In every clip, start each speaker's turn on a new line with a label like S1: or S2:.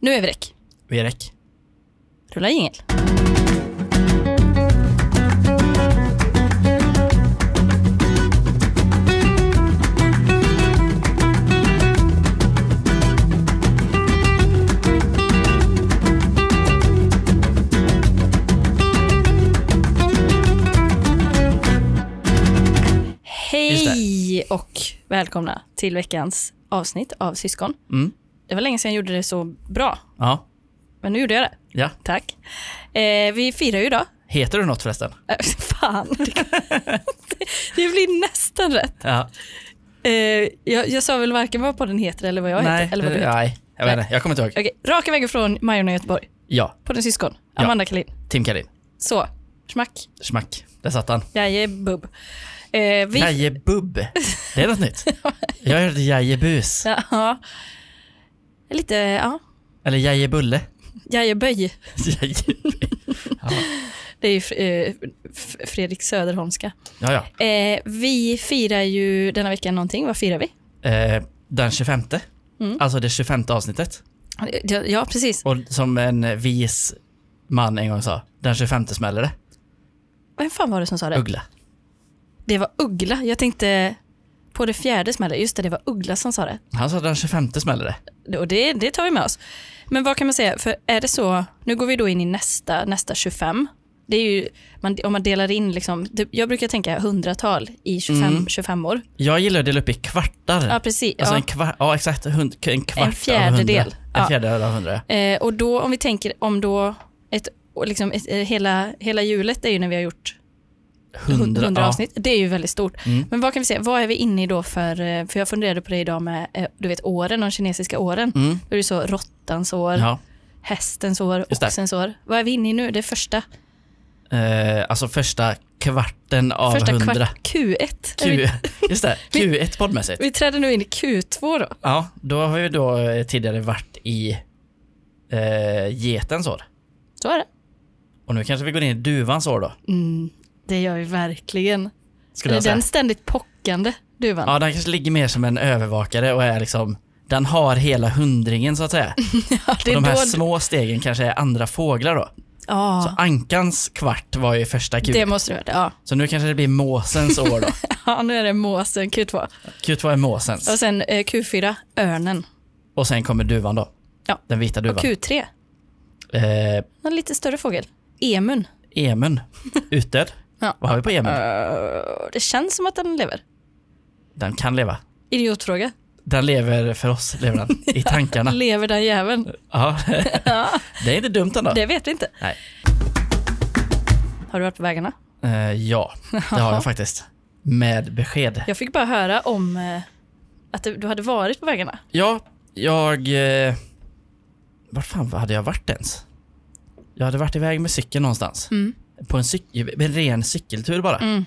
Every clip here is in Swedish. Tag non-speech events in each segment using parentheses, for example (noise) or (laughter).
S1: Nu är vi räck.
S2: Vi är räck.
S1: Rulla jingel.
S2: Just det.
S1: Hej och välkomna till veckans avsnitt av Syskon.
S2: Mm.
S1: Det var länge sedan jag gjorde det så bra,
S2: Ja.
S1: men nu gjorde jag det.
S2: ja.
S1: Tack. Eh, vi firar ju idag.
S2: Heter du något förresten?
S1: Eh, (laughs)
S2: (laughs)
S1: Fan. Det blir nästan rätt.
S2: Ja.
S1: Eh, jag, jag sa väl varken vad podden heter eller vad jag
S2: nej,
S1: heter. Eller vad du
S2: eh,
S1: heter.
S2: nej, jag vet inte. Jag kommer inte ihåg.
S1: Okej, raka vägen från Majorna i Göteborg.
S2: Ja,
S1: Podden Syskon.
S2: Ja.
S1: Amanda Kalin.
S2: Tim Karin.
S1: Så, smack.
S2: Smack. Där satt han.
S1: Jaje, bubb. Eh, vi...
S2: Jajebubb. Det är något nytt. Jag hörde jajebus.
S1: (laughs) Ja. Lite, ja.
S2: Eller jajebulle. (laughs)
S1: Jajeböj.
S2: Jajebulle.
S1: Det är ju fr- eh, F- Fredrik Söderholmska.
S2: Ja, ja.
S1: Eh, vi firar ju denna vecka någonting. Vad firar vi?
S2: Eh, den 25.
S1: Mm.
S2: Alltså det 25 avsnittet.
S1: Ja, Ja, precis.
S2: Och som en vis man en gång sa, den 25 smäller det.
S1: Vem fan var det som sa det?
S2: Uggla.
S1: Det var Uggla. Jag tänkte på det fjärde smäller. Just det, det var Uggla som sa det.
S2: Han sa den 25 smäller det.
S1: Det- Och det, det tar vi med oss. Men vad kan man säga? För är det så, nu går vi då in i nästa, nästa 25. Det är ju, man, om man delar in, liksom, det- jag brukar tänka hundratal i 25,
S2: Mm.
S1: 25 år.
S2: Jag gillar att dela upp i kvartar.
S1: Ja, precis.
S2: Alltså
S1: ja.
S2: en kvart, ja exakt, hund, en kvart
S1: En fjärdedel.
S2: av hundra.
S1: Ja.
S2: En fjärdedel av hundra.
S1: Eh, och då om vi tänker om då ett, och liksom ett, eh, hela, hela hjulet är ju när vi har gjort hund- 100
S2: ja.
S1: avsnitt. Det är ju väldigt stort.
S2: Mm.
S1: Men vad kan vi säga, vad är vi inne i då för, eh, för jag funderade på det idag med eh, du vet åren, de kinesiska åren.
S2: Mm.
S1: Då är det så råttans år,
S2: Ja.
S1: hästens år,
S2: Just det.
S1: oxens år. Vad är vi inne i nu? Det är första,
S2: Eh, alltså första kvarten av
S1: första
S2: hundra.
S1: kvart, Q1. Är (laughs) Vi,
S2: Q, (laughs) just det, Q1 poddmässigt.
S1: vi träder nu in i Q2 då.
S2: Ja, då har vi då eh, tidigare varit i eh, getens år.
S1: Så är det.
S2: Och nu kanske vi går in i duvans år då.
S1: Mm, det gör vi verkligen.
S2: Skulle
S1: Eller
S2: jag säga.
S1: den ständigt pockande duvan.
S2: Ja, den kanske ligger mer som en övervakare och är liksom den har hela hundringen så
S1: (laughs)
S2: att säga.
S1: Ja,
S2: Och de här
S1: då-
S2: små stegen kanske är andra fåglar då.
S1: Ja,
S2: Så ankans kvart var ju första Q.
S1: det måste du ha. Ja.
S2: Så nu kanske det blir måsens år då.
S1: Ja, nu är det måsen, Q2.
S2: Q2 är måsens.
S1: Och sen eh, Q4, örnen.
S2: Och sen kommer duvan då.
S1: Ja.
S2: Den vita
S1: Och
S2: duvan.
S1: Q3,
S2: Eh,
S1: en lite större fågel. Emun. (laughs)
S2: emun. Utdöd.
S1: Ja.
S2: Vad har vi på emun?
S1: Eh, det känns som att den lever.
S2: Den kan leva.
S1: Idiotfråga.
S2: Den lever för oss, lever den. I
S1: (laughs)
S2: tankarna.
S1: Lever den jäveln?
S2: Ja. Det är inte dumt ändå.
S1: Det vet vi inte.
S2: Nej.
S1: Har du varit på vägarna?
S2: Eh, ja, det
S1: (laughs)
S2: har jag faktiskt. Med besked.
S1: Jag fick bara höra om eh, att du du hade varit på vägarna.
S2: Ja, jag... Eh, var fan hade jag varit ens? Jag hade varit iväg med cykeln någonstans.
S1: Mm.
S2: På en, cyk- en ren cykeltur bara.
S1: Mm.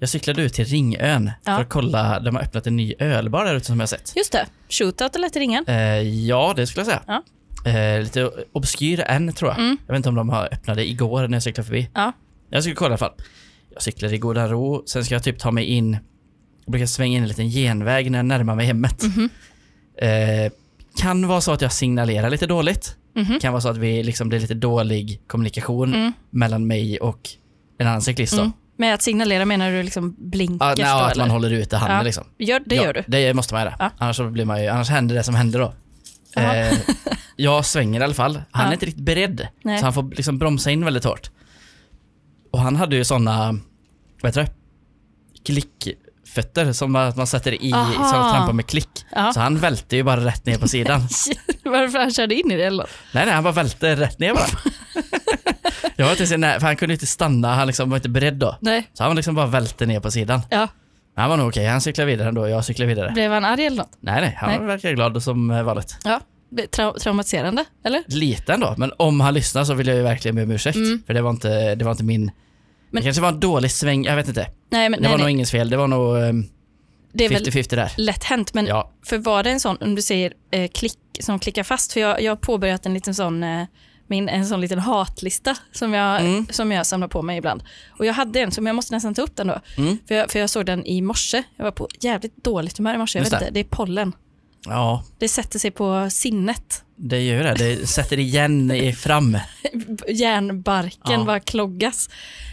S2: Jag cyklade ut till Ringön
S1: Ja.
S2: för att kolla. De har öppnat en ny ölbar där ute som jag har sett.
S1: Just det, shootout eller till ringen.
S2: Eh, ja, det skulle jag säga.
S1: Ja.
S2: Eh, lite obskyr än, tror jag.
S1: Mm.
S2: Jag vet inte om de har öppnade igår när jag cyklade förbi.
S1: Ja.
S2: Jag skulle kolla i alla fall. Jag cyklar i goda ro, sen ska jag typ ta mig in. Jag brukar svänga in en liten genväg när jag närmar mig hemmet.
S1: Mhm.
S2: Eh, kan vara så att jag signalerar lite dåligt.
S1: Mhm.
S2: Kan vara så att vi liksom, det är lite dålig kommunikation
S1: Mm.
S2: mellan mig och en annan cyklist. Då.
S1: Mm. Med att signalera menar du liksom blinkers
S2: Ah,
S1: då?
S2: nej, att
S1: eller?
S2: man håller ut i handen.
S1: Ja.
S2: Liksom.
S1: Gör, det
S2: ja,
S1: gör du?
S2: Det måste man göra.
S1: Ja.
S2: Annars, så blir man ju, annars händer det som händer då.
S1: Jaha.
S2: Eh,
S1: (laughs)
S2: jag svänger i alla fall. Han
S1: Ja.
S2: är inte riktigt beredd.
S1: Nej.
S2: Så han får liksom bromsa in väldigt hårt. Och han hade ju sådana, vad heter det? Klickfötter som man, man sätter i,
S1: Aha.
S2: som trampar med klick.
S1: Ja.
S2: Så han välte ju bara rätt ner
S1: (laughs)
S2: på sidan.
S1: Varför han körde in i det eller? något?
S2: nej, nej, han bara välte rätt ner bara.
S1: (laughs)
S2: jag var inte så nej, för han kunde ju inte stanna, han liksom var inte beredd då.
S1: Nej.
S2: Så han liksom bara välte ner på sidan.
S1: Ja.
S2: Men han var nog okej, han cyklade vidare ändå, jag cyklade vidare.
S1: Blev han arg eller något?
S2: Nej, nej, han
S1: Nej.
S2: verkar glad som eh, vanligt.
S1: Ja. Tra- traumatiserande, eller?
S2: liten då, men om han lyssnar så vill jag ju verkligen be om ursäkt. För det var inte, det var inte min...
S1: Mm. Men-
S2: det kanske var en dålig sväng, jag vet inte. Det
S1: Nej, men nej,
S2: var
S1: nej.
S2: nog ingens fel, det var nog ehm,
S1: det är väl Mm.
S2: 50-50 där.
S1: lätt hänt. Men
S2: Ja,
S1: för var det en sån, om du säger eh, klick, som klickar fast, för jag, jag har påbörjat en liten sån eh, min, en sån liten hatlista som jag,
S2: Mm.
S1: som jag samlar på mig ibland. Och jag hade en, så men jag måste nästan ta upp
S2: Mm.
S1: den då. För, jag, för jag såg den i morse. Jag var på jävligt dåligt humör i morse. Jag
S2: Just
S1: vet
S2: det.
S1: inte, det är pollen.
S2: Ja,
S1: Det sätter sig på sinnet. (laughs)
S2: det gör det. Det sätter igen i fram.
S1: Järnbarken
S2: Ja.
S1: bara kloggas.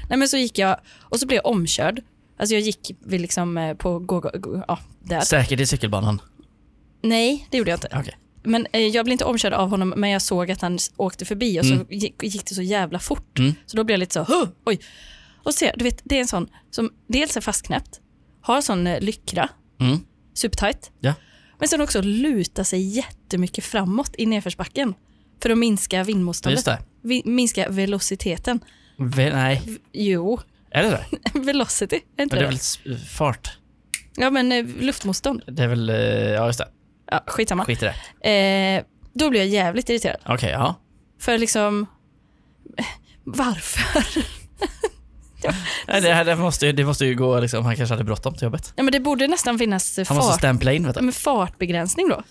S1: Nej men så gick jag och så blev jag omkörd. Alltså jag gick vid liksom eh, på gå, gå, gå, ja, där.
S2: Säkert i cykelbanan.
S1: Nej, det gjorde jag inte.
S2: Okej.
S1: Men eh, jag blev inte omkörd av honom, men jag såg att han s- åkte förbi och så
S2: Mm.
S1: gick, gick det så jävla fort.
S2: Mm.
S1: Så då blev jag lite så, "Huh, oj. Och så, ser jag, du vet, det är en sån som dels är fastknäppt, har sån eh, lyckra,
S2: Mm.
S1: supertight,
S2: Ja.
S1: men sen också lutar sig jättemycket framåt i nedförsbacken för att minska vindmotståndet,
S2: Just det.
S1: vi, minska velociteten.
S2: Ve- nej,
S1: Jo, (laughs)
S2: är det det?
S1: velocity, är
S2: Ja,
S1: inte
S2: det
S1: det?
S2: är väl s- fart?
S1: Ja, men eh, luftmotstånd.
S2: Det är väl, eh, ja just det.
S1: Ja, skitsamma.
S2: Skit i det.
S1: Eh, då blev jag jävligt irriterad.
S2: Okej, ja.
S1: För liksom, (laughs) varför?
S2: Nej, det, här, det, måste, ju- det måste ju gå, liksom, han kanske hade bråttom till jobbet.
S1: Ja, men det borde nästan finnas eh,
S2: Han måste
S1: fart,
S2: stämpla in vet
S1: ja,
S2: du.
S1: men fartbegränsning då.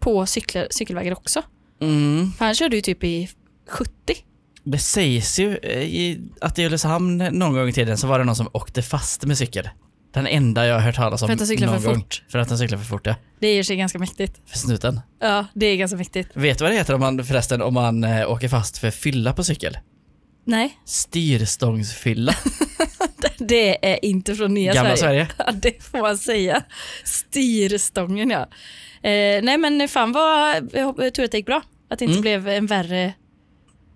S1: På cykler, cykelvägar också.
S2: Mm.
S1: För han körde ju typ i 70.
S2: Det sägs ju eh, i, att i Ulricehamn någon gång i tiden så var det någon som åkte fast med cykel. Den enda jag har hört talas om
S1: För att den cyklar
S2: någon
S1: för
S2: gång.
S1: fort.
S2: För att den cyklar för fort ja.
S1: Det är i och för sig ganska mäktigt.
S2: För snuten.
S1: Ja, det är ganska mäktigt.
S2: Vet du vad det heter om man, förresten om man eh, åker fast för fylla på cykel?
S1: Nej,
S2: Styrstångsfylla.
S1: det är inte från nya
S2: Gamla
S1: Sverige.
S2: Sverige.
S1: (laughs) Ja, det får man säga. Styrstången ja. Eh, nej men fan vad, jag hoppas- tur att det gick bra. Att det inte
S2: Mm.
S1: blev en värre,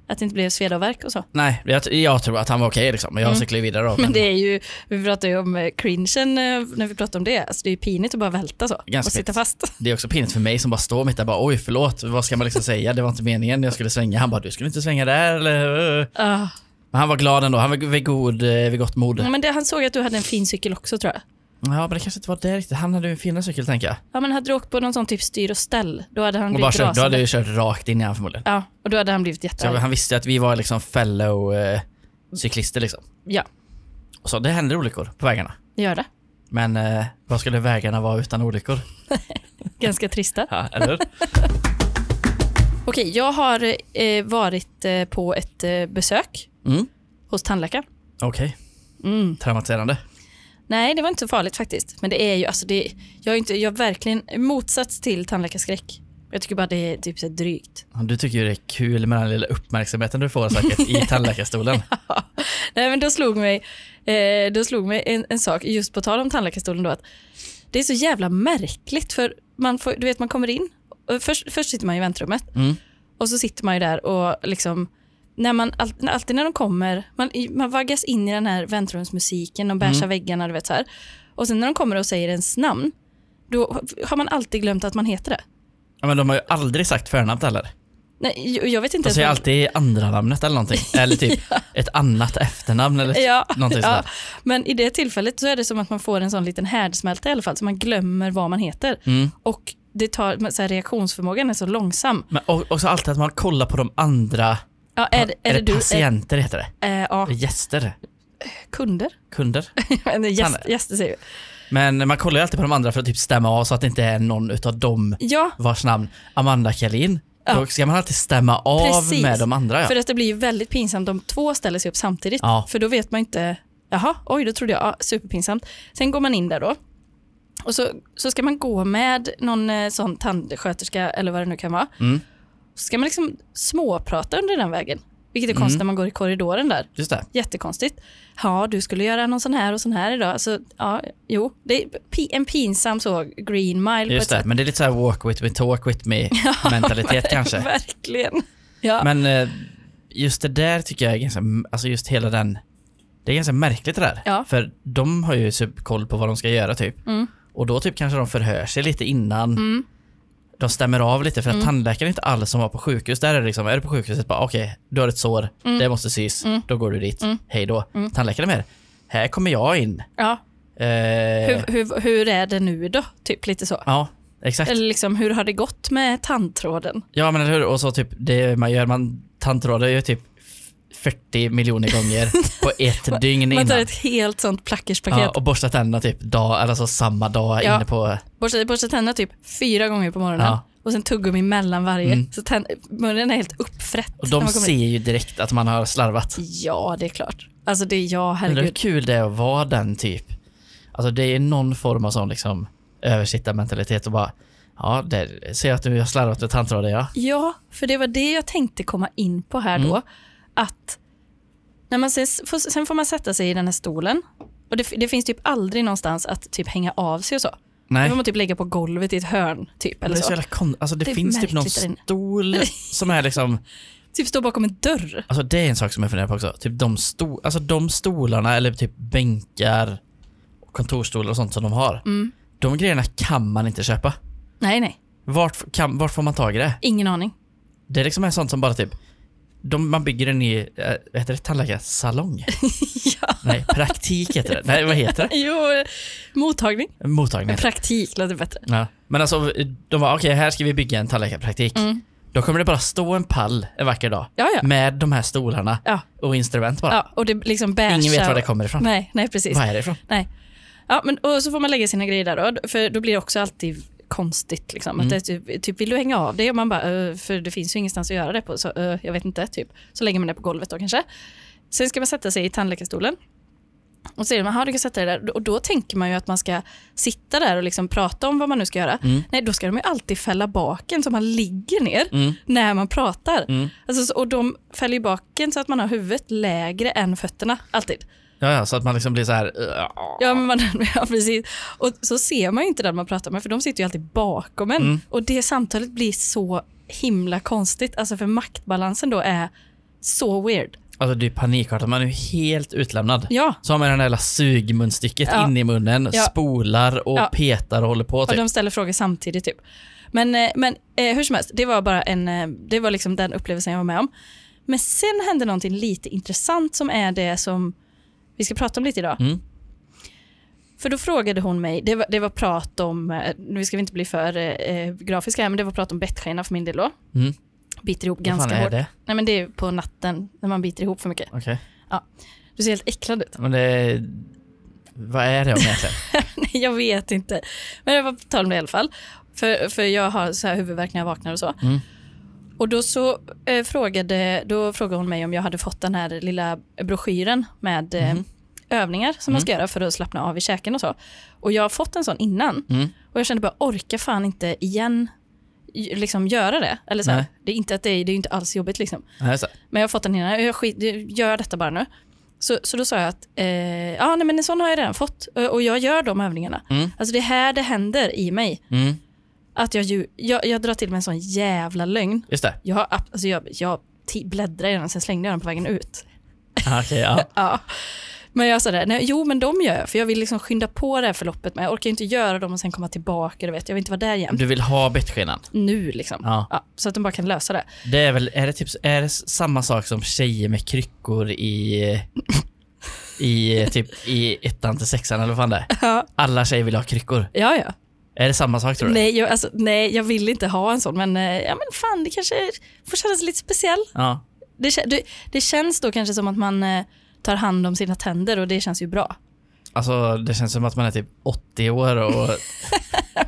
S1: att det inte blev sveda och värk och så.
S2: Nej, jag, jag tror att han var okej liksom. Men jag cyklar ju vidare då.
S1: Mm. (laughs) Men
S2: Men
S1: det är ju, vi pratade ju om eh, cringen eh, när vi pratade om det. Alltså det är ju pinigt att bara välta så
S2: Ganska
S1: och sitta
S2: pinigt.
S1: fast. (laughs)
S2: det är också pinigt för mig som bara står mitt där och bara oj förlåt, vad ska man liksom säga? Det var inte meningen jag skulle svänga. Han bara du skulle inte svänga där eller? eh."
S1: Ja.
S2: Men han var glad ändå. Han var vid, god, eh, vid gott mod.
S1: Ja, men det, han såg att du hade en fin cykel också tror jag.
S2: Ja, men det kanske inte var det riktigt. Han hade ju en finare cykel, tänker jag.
S1: Ja, men hade du åkt på någon sån typ styr och ställ, då hade han
S2: Och bara
S1: blivit
S2: kört, då
S1: rasande.
S2: hade jag ju kört rakt in i han förmodligen.
S1: Ja, och då hade han blivit
S2: Så
S1: jättearg.
S2: han visste ju att vi var liksom fellow eh, cyklister liksom.
S1: Ja,
S2: Och så det händer olyckor på vägarna.
S1: gör det.
S2: Men eh, vad skulle vägarna vara utan olyckor?
S1: Ganska trista.
S2: Ja, eller hur?
S1: Okej, jag har eh, varit eh, på ett eh, besök
S2: (laughs) Mm.
S1: hos tandläkaren.
S2: Okej,
S1: Mm.
S2: traumatiserande.
S1: Nej, det var inte så farligt faktiskt. Men det är ju, alltså det, jag är inte, jag är verkligen i motsats till tandläkarskräck. Jag tycker bara det är typ så här drygt.
S2: Du tycker ju det är kul med den lilla uppmärksamheten du får säkert (laughs) i tandläkarstolen.
S1: Nej men då slog mig, eh, då slog mig en, en sak, just på tal om tandläkarstolen då, att det är så jävla märkligt för man, får, du vet, man kommer in, och först, först sitter man i väntrummet
S2: Mm.
S1: och så sitter man ju där och liksom, när man, all- när- alltid när de kommer, man, i- man vaggas in i den här väntrumsmusiken, de beiga väggarna, du vet så här. Och sen när de kommer och säger ens namn, då har man alltid glömt att man heter det.
S2: Ja, men de har ju aldrig sagt förnamnet heller.
S1: Nej, jag- jag vet inte
S2: De
S1: ens
S2: säger
S1: vad-
S2: alltid andra namnet eller någonting. (laughs) Eller typ ett annat efternamn eller
S1: Ja,
S2: någonting
S1: ja.
S2: sådär.
S1: Men i det tillfället så är det som att man får en sån liten härdsmälta i alla fall, så man glömmer vad man heter.
S2: Mm.
S1: Och det tar, men så här, reaktionsförmågan är så långsam.
S2: Men och- också alltid att man kollar på de andra
S1: Ja, är, är, det, du? Är,
S2: patienter heter det.
S1: eh, ja,
S2: Gäster.
S1: kunder? (laughs)
S2: Kunder.
S1: Eller gäst,
S2: Kan-
S1: gäster säger vi.
S2: Men man kollar ju alltid på de andra för att typ stämma av så att det inte är någon utav dem
S1: Ja,
S2: vars namn Amanda Kalin.
S1: Ja.
S2: Då ska man alltid stämma av
S1: Precis.
S2: med de andra. Ja.
S1: för att det blir ju väldigt pinsamt om två ställer sig upp samtidigt.
S2: Ja.
S1: För då vet man inte, jaha, oj, då trodde jag, ja, superpinsamt. Sen går man in där då. Och så, så ska man gå med någon eh, sån tandsköterska eller vad det nu kan vara.
S2: Mm.
S1: Så ska man liksom småprata under den vägen. Vilket är
S2: Mm.
S1: konstigt när man går i korridoren där.
S2: Just det.
S1: Jättekonstigt. Ja, du skulle göra någon sån här och sån här idag. Alltså, ja, jo, det är pi- en pinsam så green mile
S2: Just
S1: på
S2: det.
S1: ett
S2: Men det är lite så här walk with me, talk
S1: (laughs)
S2: with me mentalitet
S1: sätt. (laughs)
S2: kanske.
S1: Verkligen. Ja.
S2: Men eh, just det där tycker jag är ganska, alltså just hela den, det är ganska märkligt det där.
S1: Ja.
S2: För de har ju typ koll på vad de ska göra typ.
S1: Mm.
S2: Och då typ kanske de förhör sig lite innan. De stämmer av lite för att
S1: Mm.
S2: tandläkaren är inte alls som var på sjukhus. Där är det liksom, är du på sjukhuset bara okej, du har ett sår,
S1: Mm.
S2: det måste sys, då går du dit, hej då. Tandläkaren är mer, här kommer jag in.
S1: ja.
S2: Eh,
S1: Hur, hur, hur är det nu då? Typ lite så.
S2: Ja, exakt.
S1: Eller liksom, hur har det gått med tandtråden?
S2: Ja men eller hur, och så typ det man gör, man tandtrådar ju typ 40 miljoner gånger
S1: (laughs)
S2: på ett dygn
S1: Man tar
S2: innan.
S1: ett helt sånt plackerspaket.
S2: Ja, och borstar tänderna typ dag, eller alltså samma dag
S1: Ja.
S2: inne på...
S1: Borsta, borsta tänderna typ fyra gånger på morgonen
S2: Ja. Mm.
S1: och sen tuggummi mellan varje. Så tänd, munnen är helt uppfrätt.
S2: Och
S1: när
S2: de
S1: man kommer
S2: ser
S1: in.
S2: ju direkt att man har slarvat.
S1: Ja, det är klart. Alltså det är jag,
S2: Undrar hur
S1: herregud.
S2: kul det är att vara den typ. Alltså det är någon form av sån liksom översittarmentalitet och bara Ja, där ser jag att du har slarvat med tandtråden ja.
S1: Ja, för det var det jag tänkte komma in på här
S2: Mm.
S1: då. Att när man ses, får, sen får man sätta sig i den här stolen. Och det, det finns typ aldrig någonstans att typ hänga av sig och så. Då
S2: Nej.
S1: får man typ lägga på golvet i ett hörn. Typ,
S2: Det,
S1: eller
S2: är så
S1: så.
S2: jävla kon- alltså, det,
S1: Det är
S2: finns typ någon
S1: märkligt där inne.
S2: stol som är liksom,
S1: typ stå bakom en dörr.
S2: alltså det är en sak som jag funderar på också. Typ de, sto- alltså, de stolarna eller typ bänkar, kontorstolar och sånt som de har.
S1: Mm.
S2: De grejerna kan man inte köpa.
S1: Nej, nej.
S2: Vart, kan, vart får man tag i det?
S1: Ingen aning.
S2: Det är liksom är sånt som bara typ, de, man bygger en ny, äh, heter det tandläkarsalong?
S1: (laughs) Ja.
S2: Nej, praktik heter det. Nej, vad heter
S1: (laughs) Jo, mottagning.
S2: det? Mottagning.
S1: Praktik låter bättre.
S2: Ja. Men alltså, de var okej, här ska vi bygga en tandläkarpraktik. Då kommer det bara stå en pall en vacker dag
S1: Mm. Ja, ja.
S2: med de här stolarna
S1: Ja.
S2: och instrument bara.
S1: ja och det liksom bärsa.
S2: Ingen vet var det kommer ifrån.
S1: Nej, nej precis.
S2: Vad är det ifrån?
S1: Nej. Ja, men, och så får man lägga sina grejer där då, för då blir det också alltid konstigt. Liksom. Att det, är typ, typ, vill du hänga av det? Och man bara, "Eh, för det finns ju ingenstans att göra det på, så eh, jag vet inte. Typ. Så lägger man det på golvet då kanske. Sen ska man sätta sig i tandläkarstolen. Och säger man, "Jaha, du kan sätta dig där. Och då tänker man ju att man ska sitta där och liksom prata om vad man nu ska göra. Nej, då ska de ju alltid fälla baken så man ligger ner när man pratar. Alltså, så- och de fäller ju baken så att man har huvudet lägre än fötterna, alltid.
S2: Ja, ja, så att man liksom blir så här. "Ja."
S1: Ja, men man, (laughs) ja, precis. Och så ser man ju inte den man pratar med, för de sitter ju alltid bakom en.
S2: Mm.
S1: Och det samtalet blir så himla konstigt, alltså för maktbalansen då är så weird.
S2: Alltså det är panikartat, man är ju helt utlämnad.
S1: Ja,
S2: Så har man det där jävla sugmunstycket
S1: Ja.
S2: in i munnen,
S1: Ja.
S2: spolar och
S1: Ja.
S2: petar och håller på
S1: och
S2: typ.
S1: de ställer frågor samtidigt typ. Men, eh, men eh, hur som helst, det var bara en, eh, det var liksom den upplevelsen jag var med om. Men sen hände någonting lite intressant som är det som vi ska prata om lite idag.
S2: Mm.
S1: För då frågade hon mig, det var, det var prat om, eh, nu ska vi inte bli för eh, eh, grafiska här, men det var prat om bettskena för min del då.
S2: Mm.
S1: Biter ihop
S2: Vad fan
S1: ganska
S2: är
S1: hårt.
S2: det?
S1: Nej men det är på natten när man biter ihop för mycket.
S2: Okej.
S1: Du ser helt äcklad ut. (laughs)
S2: Men det... Vad är det om egentligen?
S1: Nej, jag vet inte. Men det var på tal om det i alla fall. För, för jag har så här huvudvärk när jag vaknar och så.
S2: Mm.
S1: Och då så eh, frågade, då frågade hon mig om jag hade fått den här lilla broschyren med eh,
S2: Mm.
S1: övningar som man ska göra för att slappna av i käken och så. Och jag har fått en sån innan.
S2: Mm.
S1: Och jag kände bara, orkar fan inte igen j- liksom göra det. Eller så här,
S2: Nej.
S1: det är inte att det är, det är ju inte alls jobbigt liksom.
S2: Nej, så. här.
S1: Men jag har fått den innan. Jag skit, gör jag detta bara nu? Så, så då sa jag att eh, ja, nej, men en sån har jag redan fått eh, och jag gör de övningarna.
S2: Mm.
S1: Alltså det är här det händer i mig.
S2: Mm.
S1: Att jag, ju- jag, jag drar till med en sån jävla lögn.
S2: Just det.
S1: Jag, har ab- alltså jag, jag ti- bläddrar i den sen slängde jag den på vägen ut.
S2: Ah, Okej, ja.
S1: Ja. Men jag sa det, nej, jo men de gör jag för jag vill liksom skynda på det här förloppet men jag orkar ju inte göra dem och sen komma tillbaka. Du vet. Jag vill inte vara där jämt.
S2: Du vill ha bettskenan?
S1: Nu liksom.
S2: Ja.
S1: Ja, så att de bara kan lösa det.
S2: Det är väl, är det typ, är det samma sak som tjejer med kryckor i, i typ i ettan till sexan eller vad fan det är?
S1: Ja,
S2: Alla tjejer vill ha kryckor.
S1: ja. ja.
S2: Är det samma sak tror du?
S1: Nej jag, alltså, nej, jag vill inte ha en sån, men, eh, ja, men fan, det kanske får kännas lite speciell.
S2: Ja.
S1: Det, kä- det, det känns då kanske som att man eh, tar hand om sina tänder och det känns ju bra. (laughs)
S2: Alltså det känns som att man är typ 80 år och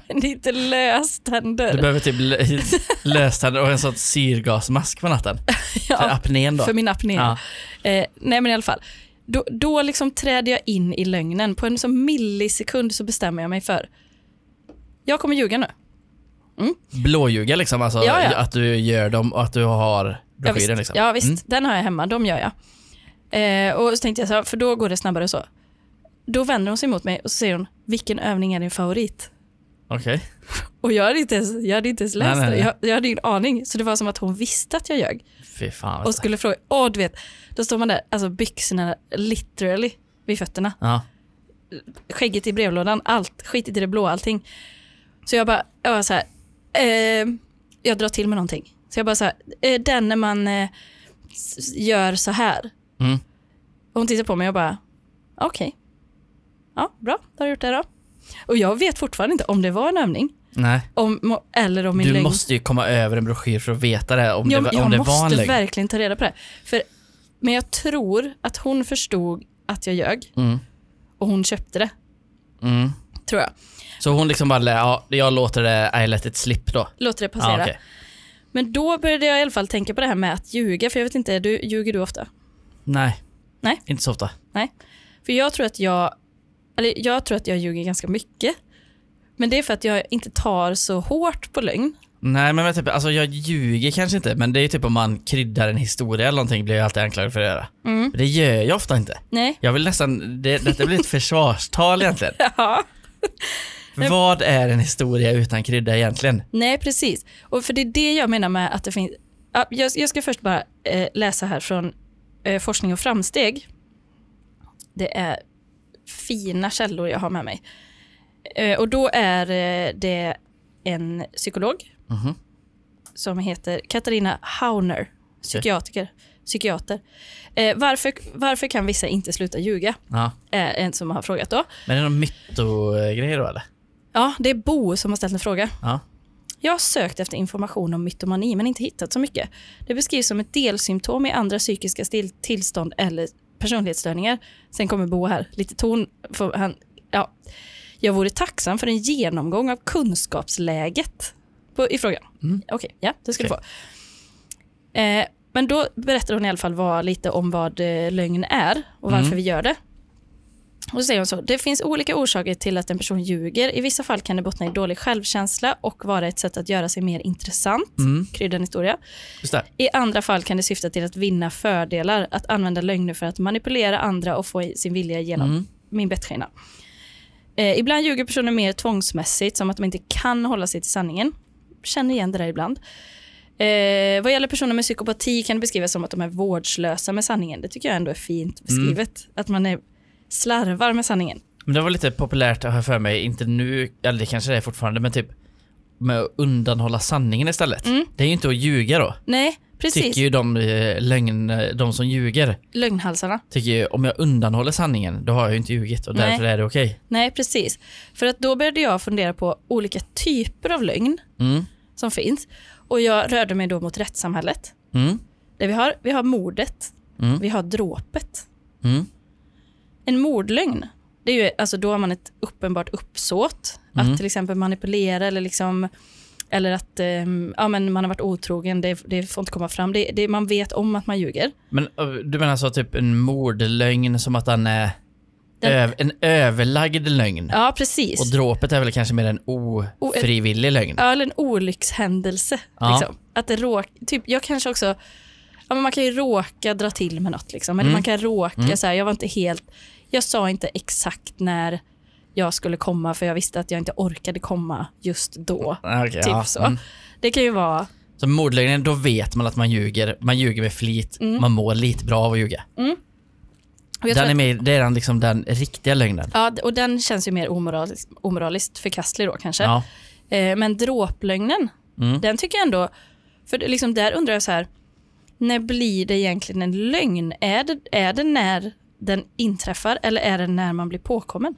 S1: Men det är inte
S2: du
S1: löständer.
S2: behöver typ lö- löständer och en sån syrgasmask på natten. För
S1: (laughs) Ja,
S2: apnén då.
S1: för min apné.
S2: Ja.
S1: Eh, nej, men i alla fall. Då, då liksom träder jag in i lögnen. På en sån millisekund så bestämmer jag mig för jag kommer ljuga nu.
S2: Blåljuga liksom, alltså
S1: Ja, ja.
S2: att du gör dem och att du har
S1: Ja,
S2: broschyren
S1: visst,
S2: liksom.
S1: ja, visst.
S2: Mm.
S1: den har jag hemma, de gör jag. Eh, och så tänkte jag så här, för då går det snabbare så. Då vänder hon sig mot mig och så säger hon, vilken övning är din favorit?
S2: Okej.
S1: Och jag hade inte ens, jag hade inte ens läst
S2: Nej, nej, nej.
S1: det, jag, jag hade ingen aning. Så det var som att hon visste att jag ljög.
S2: Fy fan. vet
S1: Och
S2: du.
S1: skulle fråga, åh du vet, då står man där, alltså byxorna literally vid fötterna.
S2: Ja.
S1: Skägget i brevlådan, allt, skit i det blå, allting. Så jag bara, jag var så här, eh, jag drar till med någonting. Så jag bara så här, eh, den när man eh, s- gör så här.
S2: Mm.
S1: Och hon tittar på mig och bara, okej. Ja, bra, då har du gjort det då. Och jag vet fortfarande inte om det var en övning
S2: Nej.
S1: om, eller om min
S2: du
S1: lögn.
S2: måste ju komma över en broschyr för att veta det om
S1: Ja,
S2: det,
S1: men
S2: var- om det
S1: jag
S2: var en
S1: måste
S2: lögn.
S1: verkligen ta reda på det. För, men jag tror att hon förstod att jag ljög
S2: Mm.
S1: och hon köpte det,
S2: Mm.
S1: tror jag.
S2: Så hon liksom bara, ja, jag låter det, I let it slip då.
S1: Låter det passera.
S2: Ja, Ah, okej.
S1: Men då började jag i alla fall tänka på det här med att ljuga, för jag vet inte, du, ljuger du ofta?
S2: Nej.
S1: Nej.
S2: Inte så ofta.
S1: Nej. För jag tror att jag, eller jag tror att jag ljuger ganska mycket. Men det är för att jag inte tar så hårt på lögn.
S2: Nej men, men typ, alltså jag ljuger kanske inte men det är ju typ om man kryddar en historia eller någonting blir jag alltid anklagad för att göra.
S1: Mm.
S2: Det gör jag ofta inte.
S1: Nej.
S2: Jag vill nästan, det,
S1: (laughs)
S2: detta blir ett försvarstal egentligen.
S1: Ja.
S2: Vad är en historia utan krydda egentligen?
S1: Nej, precis. Och för det är det jag menar med att det finns... Ja, Jag, jag ska först bara eh, läsa här från eh, Forskning och framsteg. Det är fina källor jag har med mig. Eh, och då är eh, det en psykolog
S2: Mhm.
S1: som heter Katarina Hauner, psykiatriker. psykiater. Eh, varför, varför kan vissa inte sluta ljuga?
S2: Ja.
S1: Är en som har frågat då.
S2: Men är det någon mytogrej då eller?
S1: Ja, det är Bo som har ställt en fråga.
S2: Ja.
S1: Jag har sökt efter information om mytomani men inte hittat så mycket. Det beskrivs som ett delsymptom i andra psykiska still- tillstånd eller personlighetsstörningar. Sen kommer Bo här, lite ton. För han, ja. Jag vore tacksam för en genomgång av kunskapsläget på, i frågan.
S2: Mm.
S1: Okej, ja, det ska du få. Eh, men då berättar hon i alla fall vad, lite om vad eh, lögn är och varför
S2: Mm.
S1: vi gör det. Och så säger hon så, det finns olika orsaker till att en person ljuger. I vissa fall kan det bottna i dålig självkänsla och vara ett sätt att göra sig mer intressant.
S2: Mm.
S1: Krydda en historia.
S2: Just det.
S1: I andra fall kan det syfta till att vinna fördelar, att använda lögner för att manipulera andra och få i- sin vilja genom
S2: Mm.
S1: min bettskena. Eh, ibland ljuger personer mer tvångsmässigt, som att de inte kan hålla sig till sanningen. Känner igen det där ibland. Eh, vad gäller personer med psykopati kan det beskrivas som att de är vårdslösa med sanningen. Det tycker jag ändå är fint
S2: Mm.
S1: beskrivet. Att man är, slarvar med sanningen.
S2: Men det var lite populärt har jag för mig, inte nu, eller det kanske det är fortfarande, men typ med att undanhålla sanningen istället.
S1: Mm.
S2: Det är ju inte att ljuga då.
S1: Nej, precis.
S2: Tycker ju de, eh, lögn, de som ljuger,
S1: Lögnhalsarna.
S2: tycker ju om jag undanhåller sanningen, då har jag ju inte ljugit och
S1: Nej.
S2: därför är det okej.
S1: Nej, precis. För att då började jag fundera på olika typer av lögn
S2: Mm.
S1: som finns. Och jag rörde mig då mot rättssamhället.
S2: Mm.
S1: Där vi har, vi har mordet,
S2: Mm.
S1: vi har dråpet.
S2: Mm.
S1: En mordlögn, det är ju, alltså då har man ett uppenbart uppsåt
S2: Mm.
S1: att till exempel manipulera eller liksom eller att ehm, ja, men man har varit otrogen, det, det får inte komma fram. Det, det, man vet om att man ljuger.
S2: Men ö, du menar så typ en mordlögn som att den är
S1: Den-
S2: öv, en överlagd lögn?
S1: Ja, precis.
S2: Och dråpet är väl kanske mer en ofrivillig lögn?
S1: Ja, eller en olyckshändelse.
S2: Ja.
S1: Liksom. Att det råk, typ, jag kanske också... Ja, men man kan ju råka dra till med något. Liksom. Eller
S2: Mm.
S1: man kan råka
S2: Mm.
S1: så här, jag var inte helt... Jag sa inte exakt när jag skulle komma för jag visste att jag inte orkade komma just då.
S2: Ah, okej,
S1: Typ
S2: ja.
S1: så.
S2: Mm.
S1: Det kan ju vara...
S2: Så mordlögnen, då vet man att man ljuger. Man ljuger med flit. Man mår lite bra av att ljuga.
S1: Och, Mm. jag tror
S2: Den är
S1: att,
S2: med, det är den, liksom den riktiga lögnen.
S1: ja, och den känns ju mer omoralisk, omoraliskt förkastlig då kanske.
S2: Ja.
S1: Eh, men dråplögnen,
S2: Mm.
S1: den tycker jag ändå... För det- liksom där undrar jag så här, när blir det egentligen en lögn? Är det, är det när den inträffar eller är det när man blir påkommen?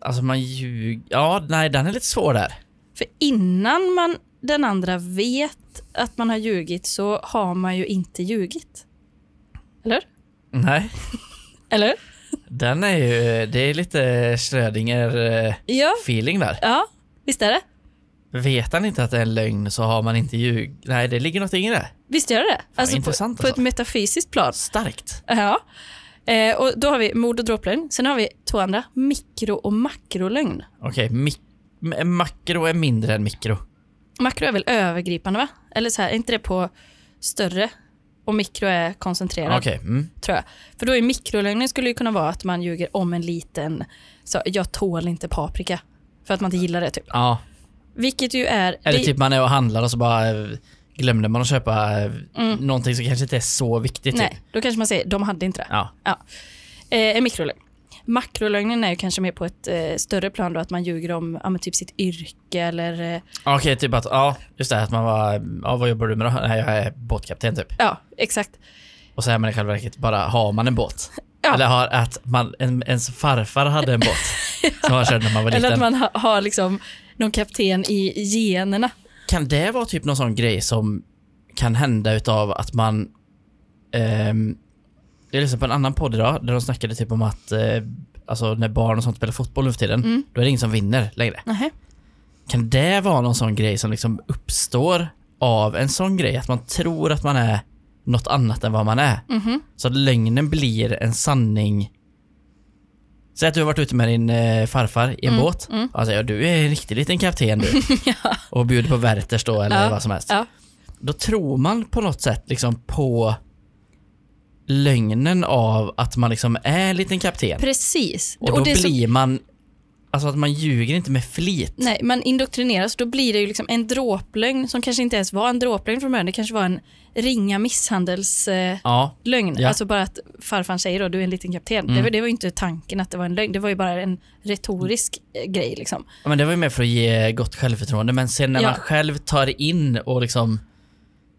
S2: Alltså man ljuger... Ja, nej, den är lite svår där.
S1: För innan man, den andra vet att man har ljugit så har man ju inte ljugit. Eller? Mm.
S2: Nej,
S1: Eller?
S2: den är ju... Det är lite eh, Schrödinger-feeling
S1: Ja,
S2: där.
S1: ja visst är det?
S2: Vet han inte att det är en lögn så har man inte ljug... Nej, det ligger något i det.
S1: Visst gör det? Alltså
S2: intressant
S1: på, på
S2: alltså.
S1: ett metafysiskt plan.
S2: Starkt.
S1: Ja. Eh, och då har vi mord och dråplögn. Sen har vi två andra, mikro och makrolögn.
S2: Okej, mik- m- makro är mindre än mikro.
S1: Makro är väl övergripande va? Eller så här, är inte det på större? Och mikro är koncentrerad,
S2: Okej. Mm.
S1: tror jag. För då är mikrolögnen skulle ju kunna vara att man ljuger om en liten, så jag tål inte paprika. För att man inte gillar det typ.
S2: Ja.
S1: Vilket ju är...
S2: Eller
S1: det-
S2: typ man är och handlar och så bara eh, glömde man att köpa eh, någonting som kanske inte är så viktigt. Typ.
S1: Mm. Nej, då kanske man säger, de hade inte det.
S2: Ja.
S1: Eh, en mikrolögn. Makrolögnen är ju kanske mer på ett eh, större plan då, att man ljuger om ja, men typ sitt yrke eller eh,
S2: Okej, typ att, ja, just det, att man var, ja vad jobbar du med då? Nej, jag är båtkapten typ.
S1: ja, exakt.
S2: Och så är man i själva verket bara, har man en båt?
S1: Ja.
S2: Eller har att man, en, ens farfar hade en båt
S1: (laughs)
S2: som han körde när man var
S1: Eller
S2: liten.
S1: att man ha, har liksom någon kapten i generna.
S2: Kan det vara typ någon sån grej som kan hända utav att man... ehm, jag lyssnade på en annan podd idag där de snackade typ om att eh, alltså när barn och sånt spelar fotboll nu för tiden,
S1: Mm.
S2: då är det ingen som vinner längre.
S1: Nähä.
S2: Kan det vara någon sån grej som liksom uppstår av en sån grej? Att man tror att man är något annat än vad man är.
S1: Mhm.
S2: Så att lögnen blir en sanning Säg att du har varit ute med din eh, farfar i en båt.
S1: mm.
S2: Och han säger, "Ja, du är en riktig liten kapten du.
S1: (laughs) ja.
S2: Och bjuder på Werthers då eller
S1: Ja,
S2: vad som helst.
S1: ja.
S2: Då tror man på något sätt liksom på lögnen av att man liksom är en liten kapten.
S1: Precis.
S2: Och då
S1: det är så-
S2: blir man... Alltså att man ljuger inte med flit.
S1: Nej, man indoktrineras. Då blir det ju liksom en dråplögn som kanske inte ens var en dråplögn från början. Det kanske var en ringa misshandelslögn. Eh,
S2: Ja,
S1: lögn.
S2: Ja. Mm.
S1: Alltså bara att farfar säger då, du är en liten kapten. Det, var, det var ju inte tanken att det var en lögn. Det var ju bara en retorisk eh, grej liksom.
S2: men det var ju mer för att ge gott självförtroende. Men sen när
S1: Ja.
S2: man själv tar in och liksom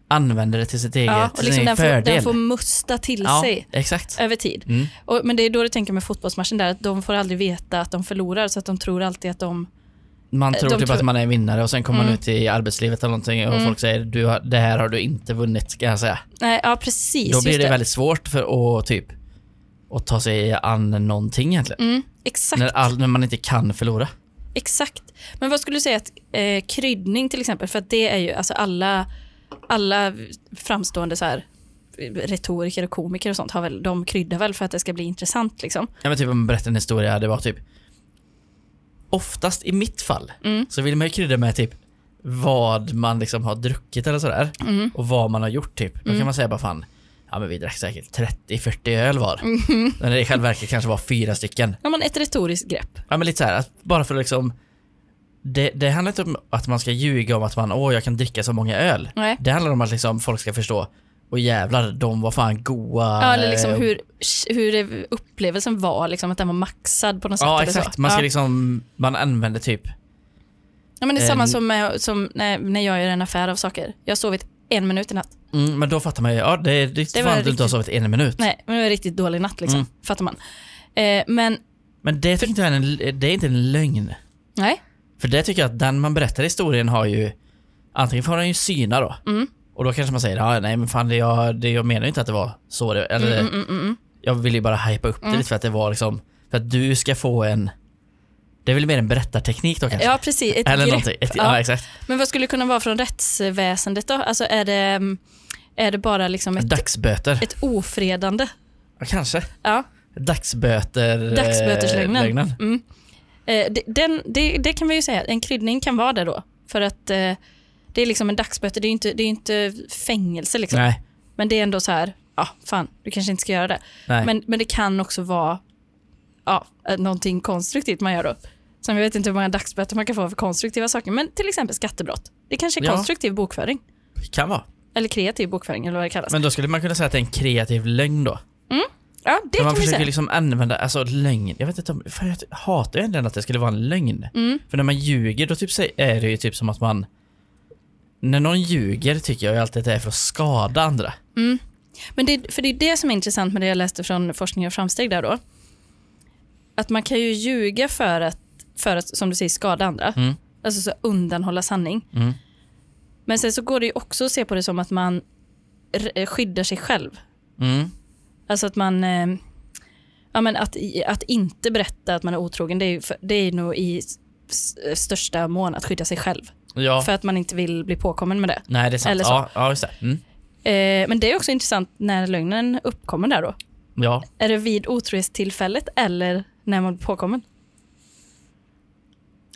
S2: använder det till sitt eget,
S1: Ja, och
S2: till
S1: liksom
S2: sin
S1: den, får,
S2: fördel.
S1: den får musta till sig
S2: Ja, exakt.
S1: över tid.
S2: Mm.
S1: Och, men det är då du tänker med fotbollsmatchen där, att de får aldrig veta att de förlorar så att de tror alltid att de...
S2: Man
S1: Eh,
S2: tror
S1: de
S2: typ
S1: tror-
S2: att man är vinnare och sen kommer man
S1: Mm.
S2: ut i arbetslivet eller någonting och folk säger du har, det här har du inte vunnit kan jag säga.
S1: Nej, ja precis.
S2: Då blir
S1: just
S2: det väldigt svårt för att typ att ta sig an någonting egentligen.
S1: Mm, exakt.
S2: När, all, när man inte kan förlora.
S1: Exakt. Men vad skulle du säga att eh, kryddning till exempel, för att det är ju alltså alla, alla framstående så här eh, retoriker och komiker och sånt har väl, de kryddar väl för att det ska bli intressant liksom.
S2: Ja men typ om man berättar en historia, det var typ Oftast i mitt fall
S1: Mm.
S2: så vill man ju krydda med typ vad man liksom har druckit eller sådär.
S1: Mm.
S2: Och vad man har gjort typ. Då kan man säga bara fan, ja men vi drack säkert 30-40 öl var.
S1: Mm. (laughs)
S2: När det i själva verket kanske var fyra stycken.
S1: Ja, men ett retoriskt grepp.
S2: Ja men lite så här, att bara för att liksom det, det handlar inte om att man ska ljuga om att man, åh jag kan dricka så många öl.
S1: Nej.
S2: Det handlar om att liksom folk ska förstå, och jävlar de var fan goa.
S1: Ja, eller liksom
S2: eh,
S1: hur, hur det- upplevelsen var, liksom, att den var maxad på något sätt.
S2: Ja
S1: eller
S2: exakt,
S1: så.
S2: man ska
S1: ja.
S2: liksom, man använder typ
S1: ja, men det är samma
S2: eh,
S1: som, med, som när, när jag gör en affär av saker. Jag har sovit en minut i natt.
S2: Mm, men då fattar man ju, ja det är riktigt
S1: Det var
S2: fan att du inte har sovit en minut.
S1: Nej, men det var en riktigt dålig natt liksom,
S2: Mm.
S1: fattar man. Eh, men
S2: Men det tycker inte jag är en, det är inte en lögn.
S1: nej,
S2: För det tycker jag att den man berättar historien har ju, antingen får den ju syna då.
S1: Mm.
S2: Och då kanske man säger, ja nej men fan det jag, det jag menar ju inte att det var så det, eller
S1: Mm,
S2: jag vill ju bara hypa upp det lite för att det var liksom, för att du ska få en, det är väl mer en berättarteknik då kanske?
S1: ja precis, ett
S2: eller
S1: grepp.
S2: någonting, ett, ja. exakt.
S1: Men vad skulle det kunna vara från rättsväsendet då? Alltså är det, är det bara liksom ett,
S2: Dagsböter.
S1: ett ofredande?
S2: Ja, kanske.
S1: Ja,
S2: Dagsböter. eh,
S1: dagsböterslögnen.
S2: lögnen.
S1: Mm. Eh, det- Den, det, det kan vi ju säga, en kryddning kan vara det då. För att eh, det är liksom en dagsböter, det är ju inte, det är ju inte fängelse liksom.
S2: Nej,
S1: Men det är ändå så här, ja fan, du kanske inte ska göra det.
S2: nej.
S1: Men, men det kan också vara ja, eh, någonting konstruktivt man gör då. Som jag vet inte hur många dagsböter man kan få för konstruktiva saker, men till exempel skattebrott. Det kanske är
S2: Ja.
S1: konstruktiv bokföring,
S2: kan vara.
S1: eller kreativ bokföring eller vad det kallas.
S2: Men då skulle man kunna säga att det är en kreativ lögn då.
S1: Ja, det
S2: För
S1: kan
S2: man
S1: vi
S2: försöker
S1: säga.
S2: liksom använda, alltså lögn. Jag vet inte om, för jag hatar ju egentligen att det skulle vara en lögn.
S1: Mm.
S2: För när man ljuger då typ sä- är det ju typ som att man... När någon ljuger tycker jag ju alltid att det är för att skada andra.
S1: Men det, för det är det som är intressant med det jag läste från Forskning och framsteg där då. Att man kan ju ljuga för att, för att som du säger, skada andra.
S2: Mm.
S1: Alltså så undanhålla sanning.
S2: Mm.
S1: Men sen så går det ju också att se på det som att man r- eh, skyddar sig själv.
S2: Mm.
S1: Alltså att man... eh, Ja, men att, i- att inte berätta att man är otrogen, det är, ju för, det är nog i s- s- största mån att skydda sig själv.
S2: Ja,
S1: För att man inte vill bli påkommen med det.
S2: nej det är sant.
S1: eller så.
S2: Ja, ja, just det. Mm.
S1: Eh, men det är också intressant när lögnen uppkommer där då.
S2: Ja.
S1: Är det vid otrohetstillfället eller när man blir påkommen?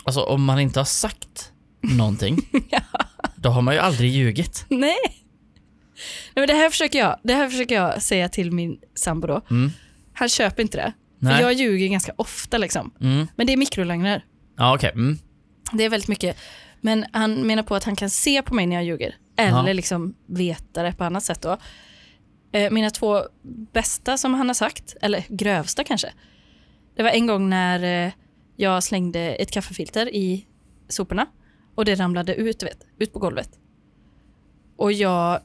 S2: Alltså om man inte har sagt
S1: (laughs)
S2: någonting, då har man ju aldrig ljugit.
S1: (laughs) Nej. Nej men det, här försöker jag, det här försöker jag säga till min sambo då.
S2: Mm.
S1: Han köper inte det.
S2: Nej.
S1: För jag ljuger ganska ofta. Liksom.
S2: Mm.
S1: Men det är mikrolögner.
S2: Ja, okej. Mm.
S1: Det är väldigt mycket. Men han menar på att han kan se på mig när jag ljuger. Eller
S2: Ja.
S1: liksom veta det på annat sätt. Då. Eh, Mina två bästa som han har sagt, eller grövsta kanske. Det var en gång när eh, jag slängde ett kaffefilter i soporna och det ramlade ut, du vet, ut på golvet. Och jag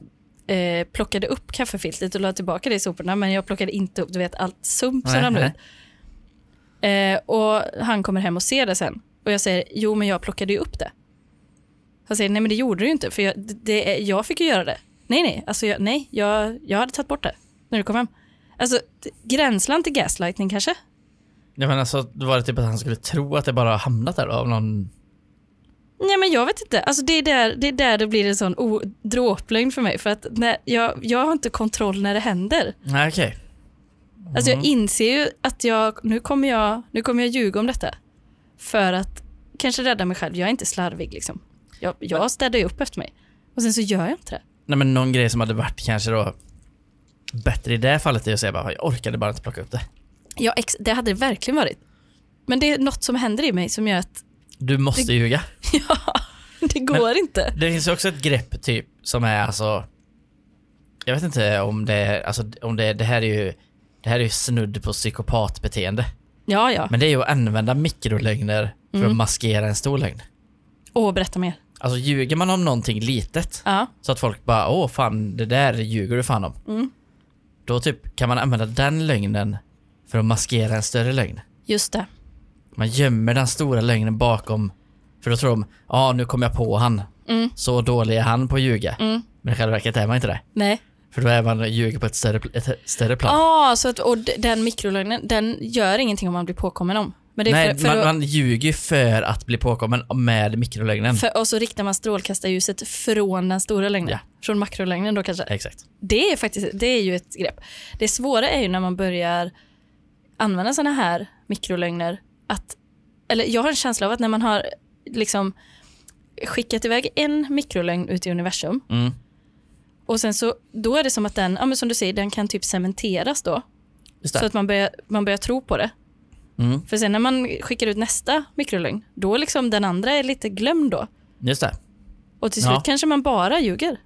S1: eh, plockade upp kaffefiltret och la tillbaka det i soporna men jag plockade inte upp du vet, allt sump som
S2: Nej,
S1: ramlade
S2: nej.
S1: ut. Eh, och han kommer hem och ser det sen. Och jag säger, jo men jag plockade ju upp det. Han säger, nej men det gjorde du ju inte, för jag, det, det, är- jag fick ju göra det. Nej, nej, alltså jag, nej, jag, jag hade tagit bort det när du kom hem. Alltså, t- gränsland till gaslightning kanske?
S2: Ja, men alltså, då var det typ att han skulle tro att det bara har hamnat där då, av någon...
S1: Nej, men jag vet inte. Alltså, det, är där, det är där det blir en sån o- dråplögn för mig, för att när jag, jag har inte kontroll när det händer.
S2: Nej, okej.
S1: Alltså jag inser ju att jag nu, kommer jag, nu kommer jag ljuga om detta. För att kanske rädda mig själv. Jag är inte slarvig liksom. Jag, jag städar ju upp efter mig. Och sen så gör jag inte det.
S2: Nej, men någon grej som hade varit kanske då bättre i det här fallet är att säga bara, jag orkade bara inte plocka upp det.
S1: Jag ex- det hade det verkligen varit. Men det är något som händer i mig som gör att (laughs)
S2: Du måste ljuga.
S1: ja, det går inte.
S2: Det finns ju också ett grepp typ som är alltså... Jag vet inte om det är, alltså om det, det här är ju... Det här är ju snudd på psykopatbeteende.
S1: Ja, ja.
S2: Men det är ju att använda mikrolögner för att maskera en stor lögn.
S1: Åh, berätta mer.
S2: Alltså ljuger man om någonting litet
S1: Ja.
S2: så att folk bara åh fan det där ljuger du fan om. Då typ kan man använda den lögnen för att maskera en större lögn.
S1: Just det.
S2: Man gömmer den stora lögnen bakom. För då tror de, ja nu kom jag på han.
S1: Mm.
S2: Så dålig är han på att ljuga.
S1: Mm.
S2: Men i själva verket är man inte det.
S1: Nej.
S2: För då är man ljuger på ett större, pl- ett större plan.
S1: Ah, så att, och d- den mikrolögnen, den gör ingenting om man blir påkommen om. Men det är
S2: Nej,
S1: för, för
S2: man,
S1: att-
S2: man ljuger ju för att bli påkommen med mikrolögnen.
S1: För, och så riktar man strålkastarljuset från den stora lögnen.
S2: Ja.
S1: Från makrolögnen då kanske.
S2: Exakt.
S1: Det är, faktiskt, det är ju ett grepp. Det svåra är ju när man börjar använda såna här mikrolögner. Att, eller jag har en känsla av att när man har liksom skickat iväg en mikrolögn ut i universum
S2: Mm.
S1: och sen så då är det som att den, ja, men som du säger, den kan typ cementeras då.
S2: Just
S1: Så
S2: det.
S1: att man börjar, man börjar tro på det.
S2: Mm.
S1: För sen när man skickar ut nästa mikrolögn, då liksom den andra är lite glömd då.
S2: Just det.
S1: Och till
S2: Ja.
S1: slut kanske man bara ljuger.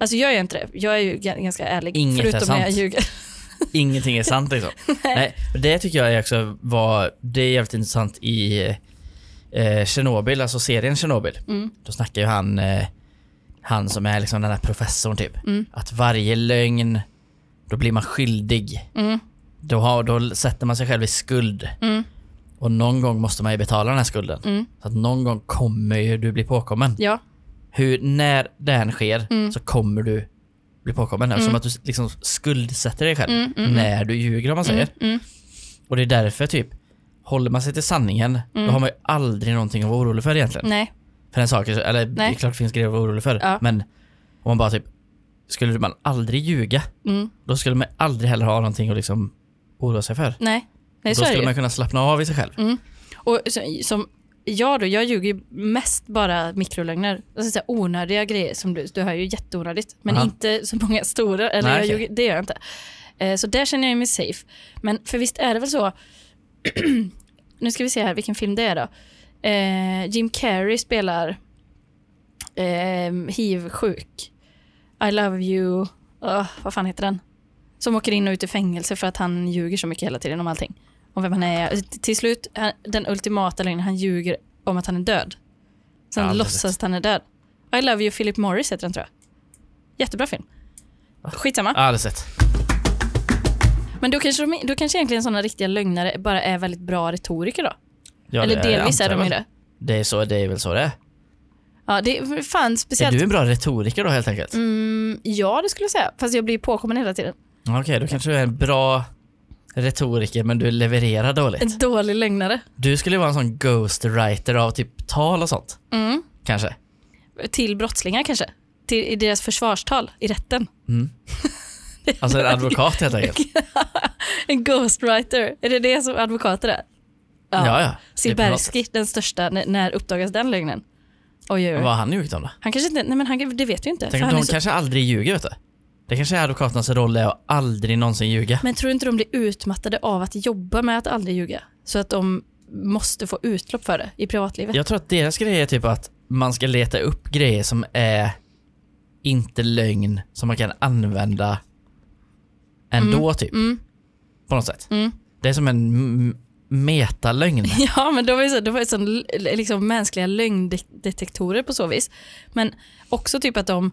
S1: Alltså jag är inte det. Jag är ju g- ganska ärlig.
S2: Inget är
S1: förutom när jag
S2: sant.
S1: ljuger.
S2: Ingenting är
S1: (laughs)
S2: sant liksom. Nej. och Det tycker jag är också var, det är jävligt intressant i eh, Tjernobyl, alltså serien Tjernobyl.
S1: Mm.
S2: Då snackar ju han, eh, han som är liksom den här professorn typ.
S1: Mm.
S2: Att varje lögn, då blir man skyldig.
S1: Mm.
S2: Då, har, då sätter man sig själv i skuld.
S1: Mm.
S2: Och någon gång måste man ju betala den här skulden.
S1: Mm.
S2: Så att någon gång kommer ju du bli påkommen.
S1: Ja,
S2: Hur, när den sker
S1: Mm.
S2: så kommer du bli påkommen. Eftersom att du liksom skuldsätter dig själv
S1: Mm,
S2: när du ljuger om man säger. Och det är därför typ, håller man sig till sanningen
S1: Mm.
S2: då har man ju aldrig någonting att vara orolig för egentligen.
S1: nej.
S2: För en sak, är så- eller det är
S1: Mm. Nej.
S2: klart det finns grejer att vara orolig för.
S1: Ja.
S2: Men om man bara typ, skulle man aldrig ljuga
S1: Mm.
S2: då skulle man aldrig heller ha någonting att liksom oroa sig för.
S1: Nej, nej så
S2: då
S1: är det
S2: skulle
S1: ju. Mm.
S2: man kunna slappna av i sig själv.
S1: Och så, som jag då, jag ljuger ju mest bara mikrolögner. Alltså så här onödiga grejer som du, du hör ju jätteonödigt. Men
S2: Ja.
S1: inte så många stora, eller
S2: Nej,
S1: jag
S2: okej.
S1: ljuger, det gör jag inte. Eh, så där känner jag mig safe. Men för visst är det väl så, (clears throat) nu ska vi se här vilken film det är då. Eh, Jim Carrey spelar eh, hiv-sjuk. I love you, Åh, vad fan heter den? Som åker in och ut i fängelse för att han ljuger så mycket hela tiden om allting. Om vem han är. Alltså, T- Till slut, han, den ultimata lögnen, han ljuger om att han är död. Sen
S2: Ja,
S1: låtsas
S2: precis.
S1: att han är död. I love you Philip Morris heter den tror jag. Jättebra film. Skitsamma.
S2: Aldrig sett.
S1: Men då kanske, de, då kanske egentligen sådana riktiga lögnare bara är väldigt bra retoriker då.
S2: Ja,
S1: Eller
S2: det-
S1: delvis
S2: jag
S1: är de
S2: antar
S1: ju
S2: väl.
S1: det.
S2: Det är, så, det är väl så det är.
S1: Ja, det är fan
S2: Är
S1: speciellt.
S2: du en bra retoriker då helt enkelt?
S1: Mm, ja, det skulle jag säga. Fast jag blir påkommen hela tiden.
S2: Okej, då kanske du är en bra retoriker men du levererar dåligt.
S1: En dålig lögnare.
S2: Du skulle vara en sån ghostwriter av typ tal och sånt.
S1: Mm.
S2: Kanske.
S1: Till brottslingar kanske. Till, I deras försvarstal i rätten.
S2: Mm. Alltså en advokat helt enkelt.
S1: (laughs) En ghostwriter. Är det det som advokater är?
S2: Ja, ja. Det är på något
S1: Silbersky, den största. När, när uppdagas den lögnen? Oj, oj,
S2: Vad
S1: oj.
S2: har han gjort om då?
S1: Han kanske inte... Nej, men han, det vet vi inte.
S2: Tänk
S1: för
S2: om
S1: han är
S2: de
S1: så,
S2: kanske aldrig ljuger vet du. Det kanske är advokaternas roll är att aldrig någonsin ljuga.
S1: Men tror du inte de blir utmattade av att jobba med att aldrig ljuga? Så att de måste få utlopp för det i privatlivet?
S2: Jag tror att deras grej är typ att man ska leta upp grejer som är inte lögn som man kan använda ändå typ.
S1: Mm.
S2: På något sätt.
S1: Mm.
S2: Det är som en m- metalögn.
S1: (laughs) Ja, men de var ju, så, de var ju sån, l- liksom mänskliga lögndetektorer på så vis. Men också typ att de,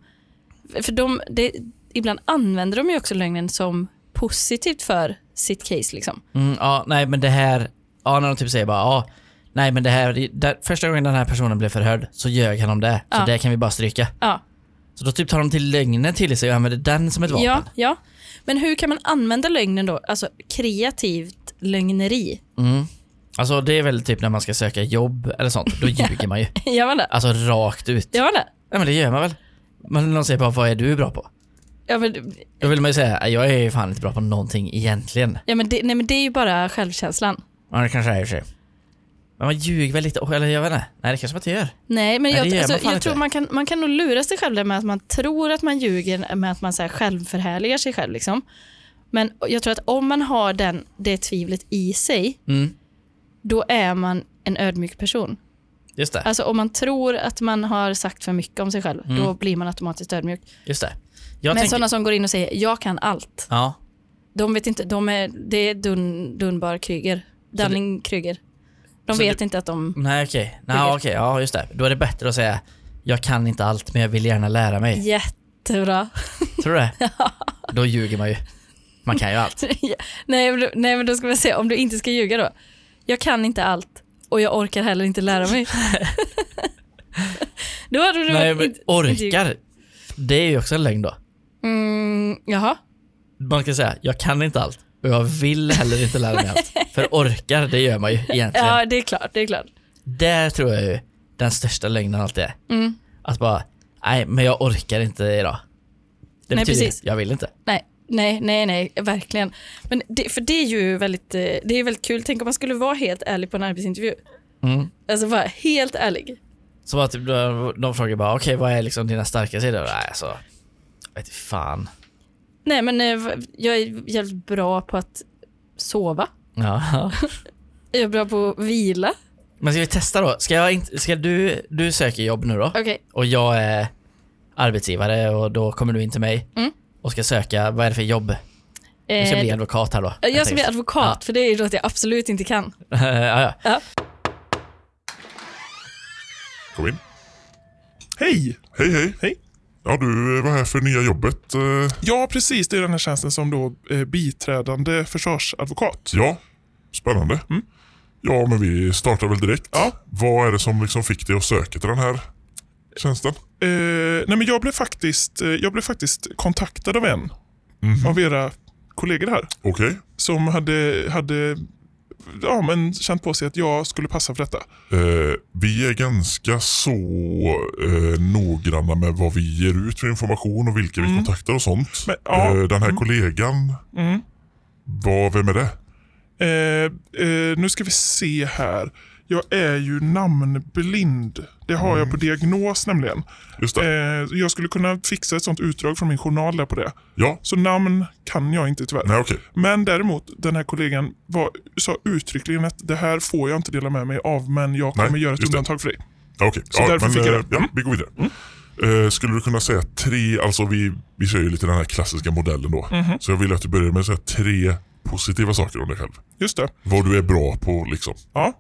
S1: för de, det, ibland använder de ju också lögnen som positivt för sitt case. Liksom.
S2: Mm, ja, nej men det här, ja när de typ säger bara ja, nej men det här, där, första gången den här personen blev förhörd så ljög han om det, så
S1: Ja.
S2: det kan vi bara stryka.
S1: Ja,
S2: Så då typ tar de till lögnen till sig och använder den som ett vapen.
S1: ja, ja. Men hur kan man använda lögnen då? Alltså kreativt lögneri. (laughs)
S2: Mm. Alltså det är väl typ när man ska söka jobb eller
S1: (laughs)
S2: sånt, då ljuger man ju.
S1: Gör man det?
S2: Alltså rakt ut.
S1: Gör man det?
S2: Nej men det gör man väl. Men någon säger bara vad är du bra på?
S1: Ja, men,
S2: Då vill man ju säga, jag är ju fan inte bra på någonting egentligen.
S1: ja, men, det, nej, men det är ju bara självkänslan.
S2: Ja, det kanske är i och för sig. Men man ljuger väl lite, eller jag vet inte. Nej, det kanske man inte gör.
S1: Nej, men
S2: Nej,
S1: jag,
S2: det gör man
S1: alltså,
S2: fan
S1: jag
S2: inte.
S1: tror man kan, man kan nog lura sig själv där med att man tror att man ljuger med att man så här självförhärligar sig själv. Liksom. Men jag tror att om man har den, det tvivlet i sig,
S2: Mm,
S1: då är man en ödmjuk person.
S2: just det.
S1: Alltså om man tror att man har sagt för mycket om sig själv,
S2: Mm.
S1: då blir man automatiskt ödmjuk.
S2: Just det. Jag
S1: men
S2: tänker,
S1: sådana som går in och säger “jag kan allt”,
S2: Ja,
S1: de vet inte, de är, det är dun, Dunbar Kryger, Dunning Kryger. De
S2: Så
S1: vet inte att de...
S2: nej okej. Nej
S1: Skiljer.
S2: okej, ja just det. Då är det bättre att säga, jag kan inte allt men jag vill gärna
S1: (laughs)
S2: lära mig.
S1: Jättebra.
S2: Tror du det? Då ljuger man ju. Man kan
S1: (laughs)
S2: ju allt.
S1: nej, men, då- nej, men då ska man säga, om du inte ska ljuga då. Jag kan inte allt och jag orkar heller inte lära mig. (laughs) då hade du
S2: Nej
S1: varit...
S2: men
S1: inte-
S2: orkar. Det är ju också en lögn då.
S1: Mm, jaha.
S2: Man kan säga, jag kan inte allt och jag vill heller inte lära mig allt. För orkar, det gör man ju egentligen.
S1: Ja, det är klart. Det är klart.
S2: Där tror jag ju den största lögnen alltid är.
S1: Mm.
S2: Att bara, nej men jag orkar inte idag. Det
S1: Nej,
S2: betyder
S1: precis.
S2: jag vill inte.
S1: Nej, nej, nej, nej, verkligen. Men det, för det är ju väldigt, eh, det är väldigt kul. Tänk om man skulle vara helt ärlig på en arbetsintervju.
S2: Mm.
S1: Alltså vara helt ärlig.
S2: Som att typ, de, de frågar bara, okej vad är liksom dina starka sidor? Nej alltså, jag vet inte fan.
S1: Nej, men eh, v- jag är jävligt bra på att sova. (laughs)
S2: Ja.
S1: Jag är bra på att vila.
S2: Men ska vi testa då? Ska, jag inte, ska du, du söker jobb nu då?
S1: Okej,
S2: Och jag är arbetsgivare och då kommer du in till mig
S1: Mm.
S2: och ska söka, vad är det för jobb? Du ska
S1: eh,
S2: bli advokat här då?
S1: jag ska bli
S2: tänker.
S1: advokat, för det är ju något jag absolut inte kan.
S2: ja, ja.
S1: Ja.
S3: Kom in.
S4: Hej!
S3: Hej, hej.
S4: Hej.
S3: Ja, du eh, var här för nya jobbet. eh,
S4: Ja, precis. Det är den här tjänsten som då eh, biträdande försvarsadvokat.
S3: Ja, spännande. Ja, men vi startar väl direkt.
S4: Mm. Ja.
S3: Vad är det som liksom fick dig att söka till den här tjänsten?
S4: Eh, nej, men jag blev faktiskt, eh, jag blev faktiskt kontaktad av en av era kollegor här
S3: Okej.
S4: som hade, hade ja, men känt på sig att jag skulle passa för detta.
S3: Eh, vi är ganska så eh, noggranna med vad vi ger ut för information och vilka vi kontaktar och sånt.
S4: Mm. Men, ja.
S3: eh, den här kollegan,
S4: Mm.
S3: vad, vem är det?
S4: Eh, eh, nu ska vi se här. Jag är ju namnblind. Det har jag på diagnos nämligen.
S3: Just det.
S4: Eh, jag skulle kunna fixa ett sånt utdrag från min journal där på det.
S3: Ja.
S4: Så namn kan jag inte tyvärr.
S3: Nej, okej.
S4: Men däremot, den här kollegan var, sa uttryckligen att det här får jag inte dela med mig av, men jag kommer
S3: Nej,
S4: göra ett
S3: just det.
S4: undantag för dig.
S3: Ja, Okej,
S4: Så
S3: ja,
S4: därför fick jag
S3: eh,
S4: det.
S3: Ja,
S4: Mm.
S3: vi går vidare. Eh, skulle du kunna säga tre, alltså vi, vi kör ju lite den här klassiska modellen då.
S4: Mhm.
S3: Så jag vill att du börjar med att säga tre positiva saker om dig själv.
S4: Just det.
S3: Vad du är bra på liksom.
S4: Ja.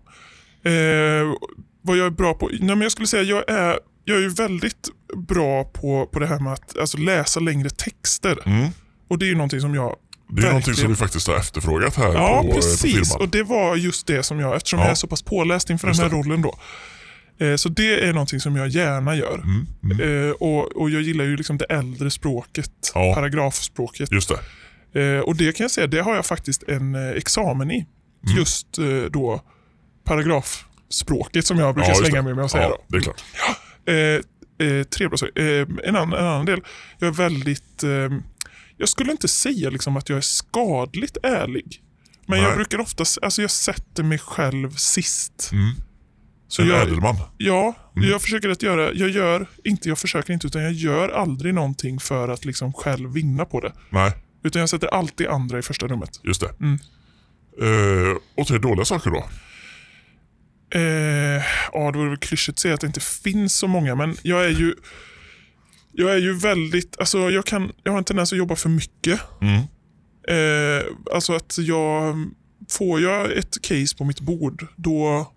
S4: Eh, vad jag är bra på? Nej, men jag skulle säga jag är, jag är ju väldigt bra på, på det här med att alltså, läsa längre texter. Och det är ju någonting som jag
S3: Det är ju någonting som vi faktiskt har efterfrågat här
S4: Ja,
S3: på, eh, på
S4: precis.
S3: firman.
S4: Och det var just det som jag, eftersom
S3: Ja.
S4: jag är så pass påläst inför den här rollen då. Eh, så det är någonting som jag gärna gör.
S3: Mm,
S4: Eh, och, och jag gillar ju liksom det äldre språket,
S3: Ja.
S4: paragrafspråket.
S3: Just det.
S4: Eh, och det kan jag säga, det har jag faktiskt en eh, examen i.
S3: Mm.
S4: Just eh, då paragrafspråket som jag brukar
S3: Ja, just
S4: slänga
S3: det.
S4: mig med att säga.
S3: ja, det är klart.
S4: då. Eh, eh, tre bra saker. eh, en, annan, en annan del, jag är väldigt... Eh, jag skulle inte säga liksom att jag är skadligt ärlig. Men
S3: Nej.
S4: jag brukar oftast, alltså jag sätter mig själv sist.
S3: Mm.
S4: Så
S3: en
S4: jag,
S3: ädelman.
S4: Ja,
S3: Mm.
S4: jag försöker att göra, jag gör, inte jag försöker inte, utan jag gör aldrig någonting för att liksom själv vinna på det.
S3: Nej,
S4: Utan jag sätter alltid andra i första rummet.
S3: just det.
S4: Mm.
S3: Eh, och tre dåliga saker då.
S4: Eh, ja, det vore väl klyschigt att säga att det inte finns så många, men jag är ju jag är ju väldigt, alltså jag, kan, jag har en tendens att jobba för mycket.
S3: Mm.
S4: Eh, alltså att jag, får jag ett case på mitt bord, då,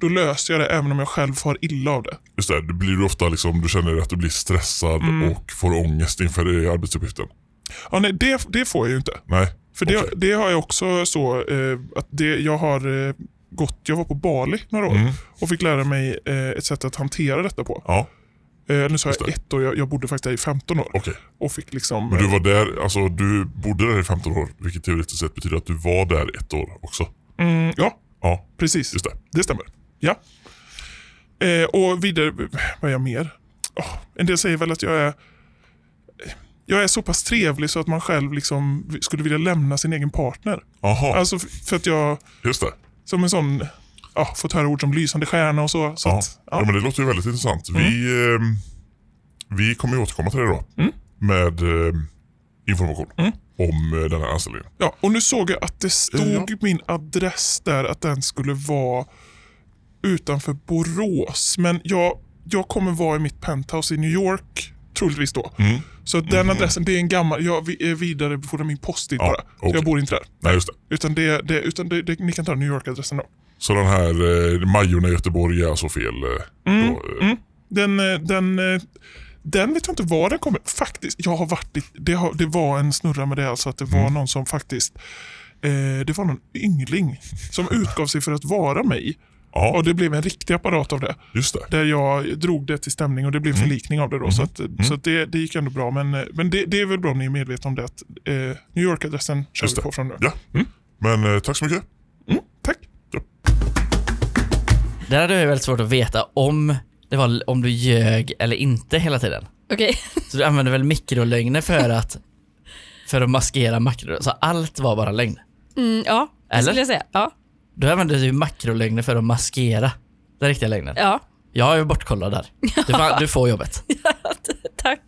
S4: då löser jag det även om jag själv far illa av det.
S3: Just det, du blir ofta liksom, du känner att du blir stressad
S4: Mm.
S3: och får ångest inför eh, arbetsuppgiften.
S4: Ja, nej, det, det får jag ju inte.
S3: Nej,
S4: För det,
S3: Okej.
S4: det har jag också så eh, att det, jag har eh, gått, jag var på Bali några år
S3: Mm.
S4: och fick lära mig eh, ett sätt att hantera detta på.
S3: ja,
S4: Eh, nu sa
S3: Just
S4: jag
S3: det.
S4: ett år, jag, jag bodde faktiskt där i 15 år
S3: okej.
S4: och fick liksom...
S3: Men du
S4: eh,
S3: var där, alltså du bodde där i 15 år, vilket teoretiskt sett betyder att du var där ett år också.
S4: mm, ja,
S3: Ja,
S4: precis.
S3: just det.
S4: Det stämmer. Ja. Eh, och vidare, vad är jag mer? Åh, en del säger väl att jag är... jag är så pass trevlig så att man själv liksom skulle vilja lämna sin egen partner.
S3: Jaha,
S4: Alltså f- för att jag,
S3: just det.
S4: som en sån, ja, fått höra ord som lysande stjärna och så. så
S3: Ja.
S4: att,
S3: Ja.
S4: ja.
S3: men det låter ju väldigt intressant. Vi, ehm, vi kommer ju återkomma till det då. Med ehm, information om eh, den här anställningen.
S4: Ja, och nu såg jag att det stod
S3: Ja.
S4: min adress där att den skulle vara utanför Borås. Men jag, jag kommer vara i mitt penthouse i New York, troligtvis då. Så att den adressen, det är en gammal, jag vi- eh, vidarebefordrar min post dit
S3: Mhm. Ja,
S4: bara.
S3: okej.
S4: Så jag bor inte där.
S3: Nej, just det.
S4: Utan, det, det, utan det, det, ni kan ta New York-adressen då.
S3: Så den här eh, Majorna i Göteborg är alltså fel. Eh, då, eh,
S4: Den, eh, den, eh, den vet jag inte var den kommer. Faktiskt, jag har varit i, det, har, det var en snurra med det alltså att det var
S3: Mm.
S4: någon som faktiskt eh, det var någon yngling som utgav sig för att vara mig.
S3: Ja,
S4: Och det blev en riktig apparat av det.
S3: just det.
S4: Där jag drog det till stämning och det
S3: Mm.
S4: blev en förlikning av det. Då, Så, att, så att det, det gick ändå bra. Men, eh, men det, det är väl bra om ni är medvetna om det att eh, New York-adressen kör
S3: Just
S4: vi
S3: det.
S4: på från nu.
S3: Ja. Men eh, tack så mycket.
S4: Tack.
S2: Där hade jag ju väldigt svårt att veta om det var om du ljög eller inte hela tiden.
S1: Okej.
S2: Så du använde väl mikrolögner för att,
S1: (laughs)
S2: för att maskera makro... Så allt var bara lögn.
S1: Mm, ja, det
S2: Eller?
S1: skulle jag säga. Ja,
S2: Du använde ju makrolögner för att maskera den riktiga lögnen.
S1: ja. (laughs)
S2: Jag är ju bortkollad där. Du, fan, du får jobbet.
S1: tack.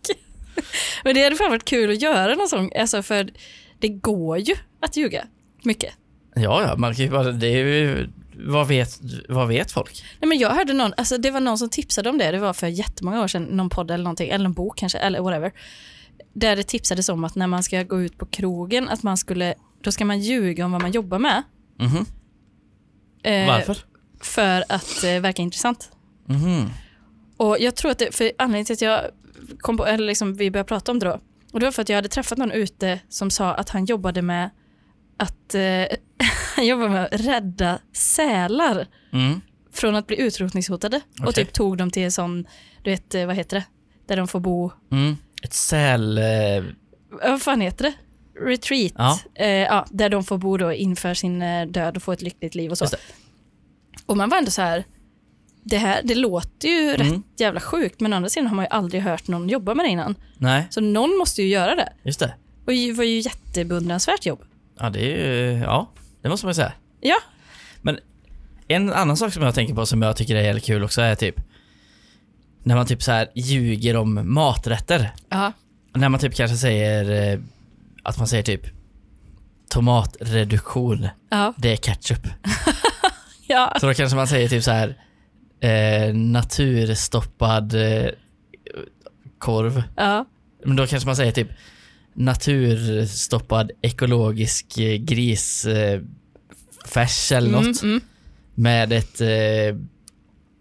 S1: Men det hade fan varit kul att göra någon sån, alltså för det går ju att ljuga mycket.
S2: Ja, ja, man kan ju bara, det är ju, vad vet, vad vet folk?
S1: Nej, men jag hörde någon, alltså det var någon som tipsade om det, det var för jättemånga år sedan, någon podd eller någonting, eller en bok kanske, eller whatever. Där det tipsades om att när man ska gå ut på krogen, att man skulle, då ska man ljuga om vad man jobbar med.
S2: Mhm.
S1: Eh,
S2: Varför?
S1: För att eh, verka intressant.
S2: Mhm.
S1: Och jag tror att det, för anledningen till att jag kom på, eller liksom vi började prata om det då, och det var för att jag hade träffat någon ute som sa att han jobbade med att eh, (laughs) han jobbade med att rädda sälar
S2: Mm.
S1: från att bli utrotningshotade och
S2: Okej.
S1: typ tog dem till en sån, du vet, eh, vad heter det, där de får bo,
S2: Mm. Ett säl... Eh,
S1: Ja, vad fan heter det? Retreat.
S2: Ja.
S1: Eh, ja, där de får bo då inför sin eh, död och få ett lyckligt liv och så.
S2: Just det.
S1: Och man var ändå så här, det här, det låter ju
S2: Mm.
S1: rätt jävla sjukt, men å andra sidan har man ju aldrig hört någon jobba med det innan.
S2: nej,
S1: Så någon måste ju göra det.
S2: just det.
S1: Och det var ju jättebeundransvärt jobb.
S2: Ja, det är ju... Ja, det måste man ju säga.
S1: Ja.
S2: Men en annan sak som jag tänker på som jag tycker är jävligt kul också är typ när man typ så här ljuger om maträtter.
S1: Ja.
S2: När man typ kanske säger eh, att man säger typ tomatreduktion,
S1: Ja.
S2: det är ketchup.
S1: ja.
S2: Så då kanske man säger typ så här eh, naturstoppad eh, korv.
S1: ja.
S2: Men då kanske man säger typ naturstoppad ekologisk eh, gris eh, färs eller något.
S1: Mm, mm.
S2: Med ett eh,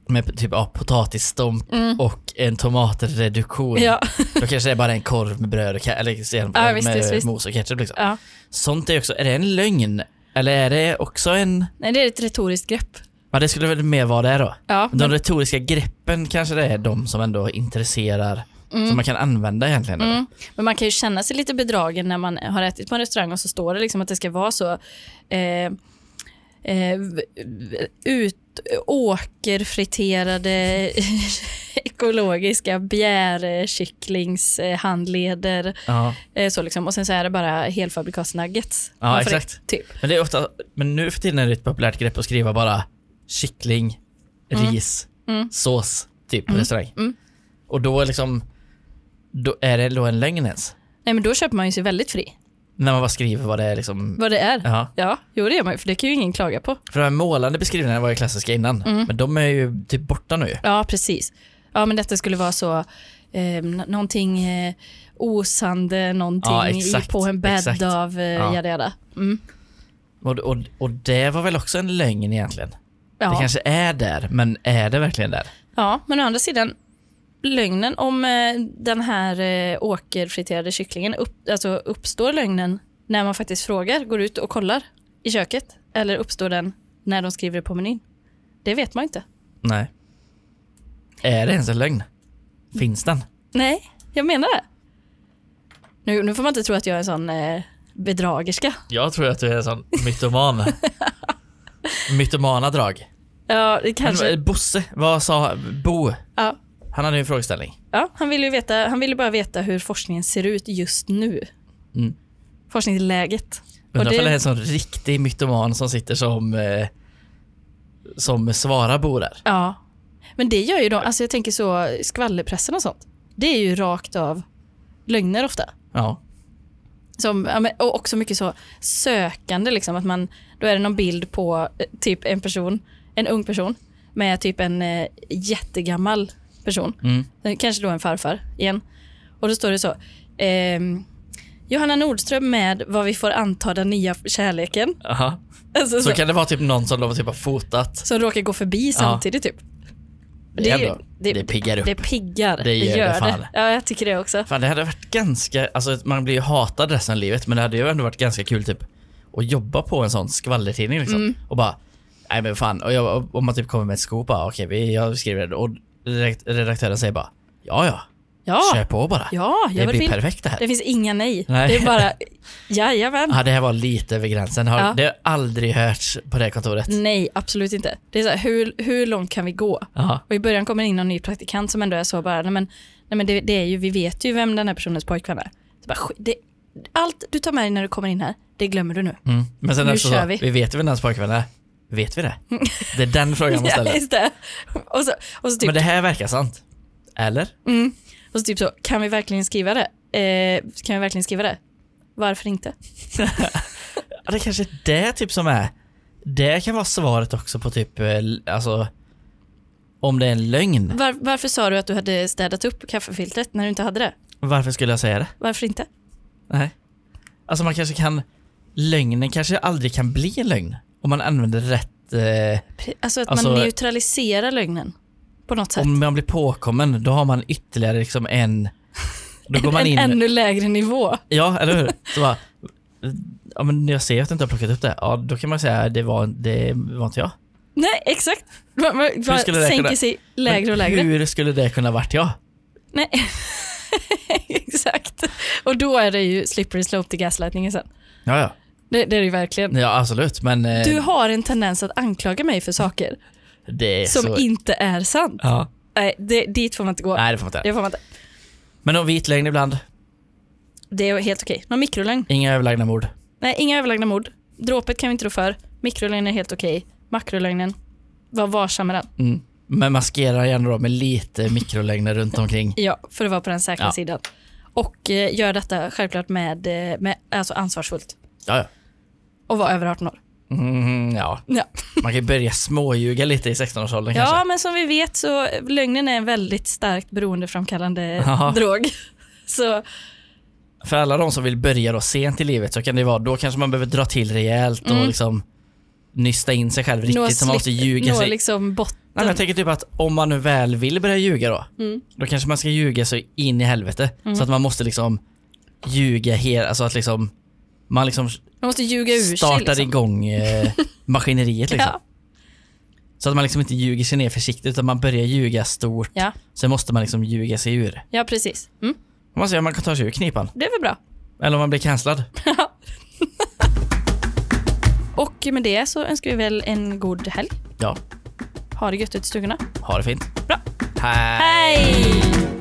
S2: med typ ja, potatisstomp och en tomatreduktion.
S1: Mm. Ja.
S2: Då kanske det är bara en korv med bröd och ke- eller sen,
S1: Ja,
S2: med
S1: visst, visst, visst.
S2: mos och ketchup. Liksom.
S1: ja.
S2: Sånt är också, är det en lögn? Eller är det också en...
S1: Nej, det är ett retoriskt grepp.
S2: Ja, det skulle väl mer vara det då.
S1: Ja.
S2: De retoriska greppen kanske det är de som ändå intresserar, som man kan använda egentligen. eller?
S1: Mm. Men man kan ju känna sig lite bedragen när man har ätit på en restaurang och så står det liksom att det ska vara så eh, eh, ut, åkerfriterade (laughs) ekologiska bjärkycklingshandleder.
S2: Ja.
S1: Eh, så liksom. Och sen så är det bara helfabrikatsnuggets.
S2: Ja,
S1: Man får det,
S2: exakt.
S1: Typ.
S2: Men det är ofta, men nu för tiden är det ett populärt grepp att skriva bara kyckling, ris, sås, typ på restaurang. Och då är liksom, då är det då en lögn ens?
S1: Nej, men då köper man ju sig väldigt fri.
S2: När man bara skriver vad det är liksom.
S1: Vad det är.
S2: Ja.
S1: Ja, jo det gör man ju, för det kan ju ingen klaga på.
S2: För de här målande beskrivningarna var ju klassiska innan, men de är ju typ borta nu.
S1: Ja, precis. Ja, men detta skulle vara så, eh, n- någonting eh, osande, någonting
S2: Ja,
S1: i,
S2: exakt,
S1: på en bädd
S2: exakt.
S1: av eh,
S2: Ja.
S1: jada jada. Mm.
S2: Och, och, och det var väl också en lögn egentligen? Det
S1: Ja.
S2: kanske är där, men är det verkligen där?
S1: ja, men å andra sidan, lögnen om eh, den här eh, åkerfriterade kycklingen, upp, alltså uppstår lögnen när man faktiskt frågar, går ut och kollar i köket? Eller uppstår den när de skriver det på menyn? Det vet man inte.
S2: Nej. Är det ens en lögn? Finns den?
S1: Nej, jag menar det. Nu, nu får man inte tro att jag är en sån eh, bedragerska.
S2: Jag tror att du är en sån
S1: (laughs)
S2: mytoman. Mytomana drag.
S1: Ja, det
S2: Men,
S1: kanske...
S2: eh, Bosse, vad sa Bo?
S1: Ja.
S2: Han hade ju en frågeställning.
S1: Ja, han ville ju veta, han ville bara veta hur forskningen ser ut just nu.
S2: Mm.
S1: Forskningsläget. Och
S2: Undrar
S1: det-
S2: om det är en sån riktig mytoman som sitter som, eh, som Svarabo där.
S1: Ja. Men det gör ju de, alltså jag tänker så skvallerpressen och sånt. Det är ju rakt av lögner ofta.
S2: Ja.
S1: Som, ja, men, och också mycket så sökande, liksom, att man, då är det någon bild på eh, typ en person, en ung person med typ en eh, jättegammal person.
S2: Mm.
S1: Eh, Kanske då en farfar igen. Och då står det så. ehm, Johanna Nordström med vad vi får anta den nya kärleken. (laughs)
S2: Aha.
S1: Alltså, så,
S2: Så kan det vara typ någon som de har typ har fotat.
S1: Som råkar gå förbi samtidigt typ.
S2: Det är bra.
S1: det,
S2: Det piggar upp.
S1: Det piggar. Det,
S2: gör det
S1: gör det.
S2: fan.
S1: Ja, jag tycker det också.
S2: Fan, det hade varit ganska, alltså man blir ju hatad resten av livet men det hade ju ändå varit ganska kul typ att jobba på en sån skvallertidning liksom.
S1: Mm.
S2: Och bara, nej men fan, och jag, och- om man typ kommer med ett scoop bara, okej vi, jag skriver det och redakt- redaktören säger bara, ja ja,
S1: Ja,
S2: kör på bara.
S1: Ah! ja
S2: det
S1: jag
S2: blir
S1: vill.
S2: perfekt det här.
S1: Det finns inga nej.
S2: Nej.
S1: Det är
S2: (laughs)
S1: bara, jajamän.
S2: Ja, det här var lite över gränsen. Har,
S1: Ja. Mm.
S2: Det har aldrig hörts på det här kontoret.
S1: Nej, absolut inte. Det är så här, hur, hur långt kan vi gå?
S2: Ja.
S1: Och i början kommer in någon ny praktikant som ändå är så bara, nej men, nej men det, det är ju, vi vet ju vem den här personens pojkvän är. Så bara, sk- det, allt du tar med dig när du kommer in här, det glömmer du nu.
S2: Mm. Men sen
S1: Nu
S2: också så,
S1: kör vi.
S2: vi. vet ju vem hans pojkvän är. Vet
S1: (laughs)
S2: vi det? Det är den frågan man
S1: Ja,
S2: ställer.
S1: just det. Och så, och så typ
S2: Men det här verkar sant. Eller?
S1: Och så typ så, kan vi verkligen skriva det? Eh, kan vi verkligen skriva det? Varför inte?
S2: Ja, det kanske är det typ som är... Det kan vara svaret också på typ, eh, l- alltså... Om det är en lögn,
S1: Var, varför sa du att du hade städat upp kaffefiltret när du inte hade det?
S2: varför skulle jag säga det?
S1: Varför inte?
S2: Nej. Alltså man kanske kan... Lögnen kanske aldrig kan bli en lögn. Om man använder rätt... Eh,
S1: Pre- Alltså att
S2: Alltså-
S1: man neutraliserar lögnen på något sätt.
S2: om man blir påkommen, då har man ytterligare liksom en... Då går man
S1: en
S2: in...
S1: ännu lägre nivå.
S2: Ja, eller hur? Så bara, ja, men jag ser att du inte har plockat upp det. Ja, då kan man säga det var, det var inte jag.
S1: Nej, exakt. Man, man, man
S2: skulle det
S1: sänker
S2: kunna-
S1: sig lägre och lägre.
S2: Men Hur skulle det kunna varit jag?
S1: Nej. (laughs) exakt. Och då är det ju slippery slope till gaslightningen sen.
S2: Ja, ja.
S1: Det, det är det ju verkligen.
S2: Ja, absolut. Men eh,
S1: Du har en tendens att anklaga mig för saker
S2: det är
S1: som
S2: så...
S1: inte är sant.
S2: Ja.
S1: Nej, det, dit får man inte gå.
S2: Nej, det får man inte
S1: Det
S2: göra.
S1: får man inte.
S2: Men om vit lögn ibland.
S1: Det är helt okej. Någon mikrolögn?
S2: Inga överlagda mord.
S1: Nej, inga överlagda mord. Dråpet kan vi inte rå för. Mikrolögnen är helt okej. Makrolögnen, var varsam med den.
S2: Mm. Men maskera gärna då med lite mikrolögner runt omkring.
S1: Ja, för att vara på den säkra
S2: Ja.
S1: sidan. Och eh, gör detta självklart med, eh, med alltså ansvarsfullt.
S2: Ja, ja.
S1: Och vara över 18 år.
S2: Mm, ja.
S1: Ja.
S2: Man kan ju börja småljuga lite i 16-årsåldern
S1: ja,
S2: kanske.
S1: men som vi vet så eh, lögnen är en väldigt starkt beroendeframkallande
S2: Ja.
S1: drog. (laughs) Så
S2: För alla de som vill börja då sent i livet så kan det vara, då kanske man behöver dra till rejält och liksom nysta in sig själv
S1: Mm. nå
S2: riktigt. Så man måste
S1: slipp-
S2: ljuga
S1: nå
S2: sig
S1: liksom botten.
S2: Nej, men jag tänker typ att om man nu väl vill börja ljuga då,
S1: Mm.
S2: då kanske man ska ljuga så in i helvete. Så att man måste liksom ljuga hela, alltså att liksom man liksom
S1: Man måste ljuga ur sig.
S2: startar
S1: Liksom.
S2: igång eh,
S1: (laughs)
S2: maskineriet liksom.
S1: Ja.
S2: Så att man liksom inte ljuger sig ner försiktigt utan man börjar ljuga stort.
S1: Ja.
S2: Sen måste man liksom ljuga sig ur.
S1: ja, precis. Mm.
S2: Man säger man kan ta sig ur knipan.
S1: Det är väl bra.
S2: Eller om man blir cancellad.
S1: Och med det så önskar vi väl en god helg.
S2: Ja,
S1: Ha det gött ute i stugorna.
S2: ha det fint.
S1: Bra.
S2: Hej!
S1: Hej!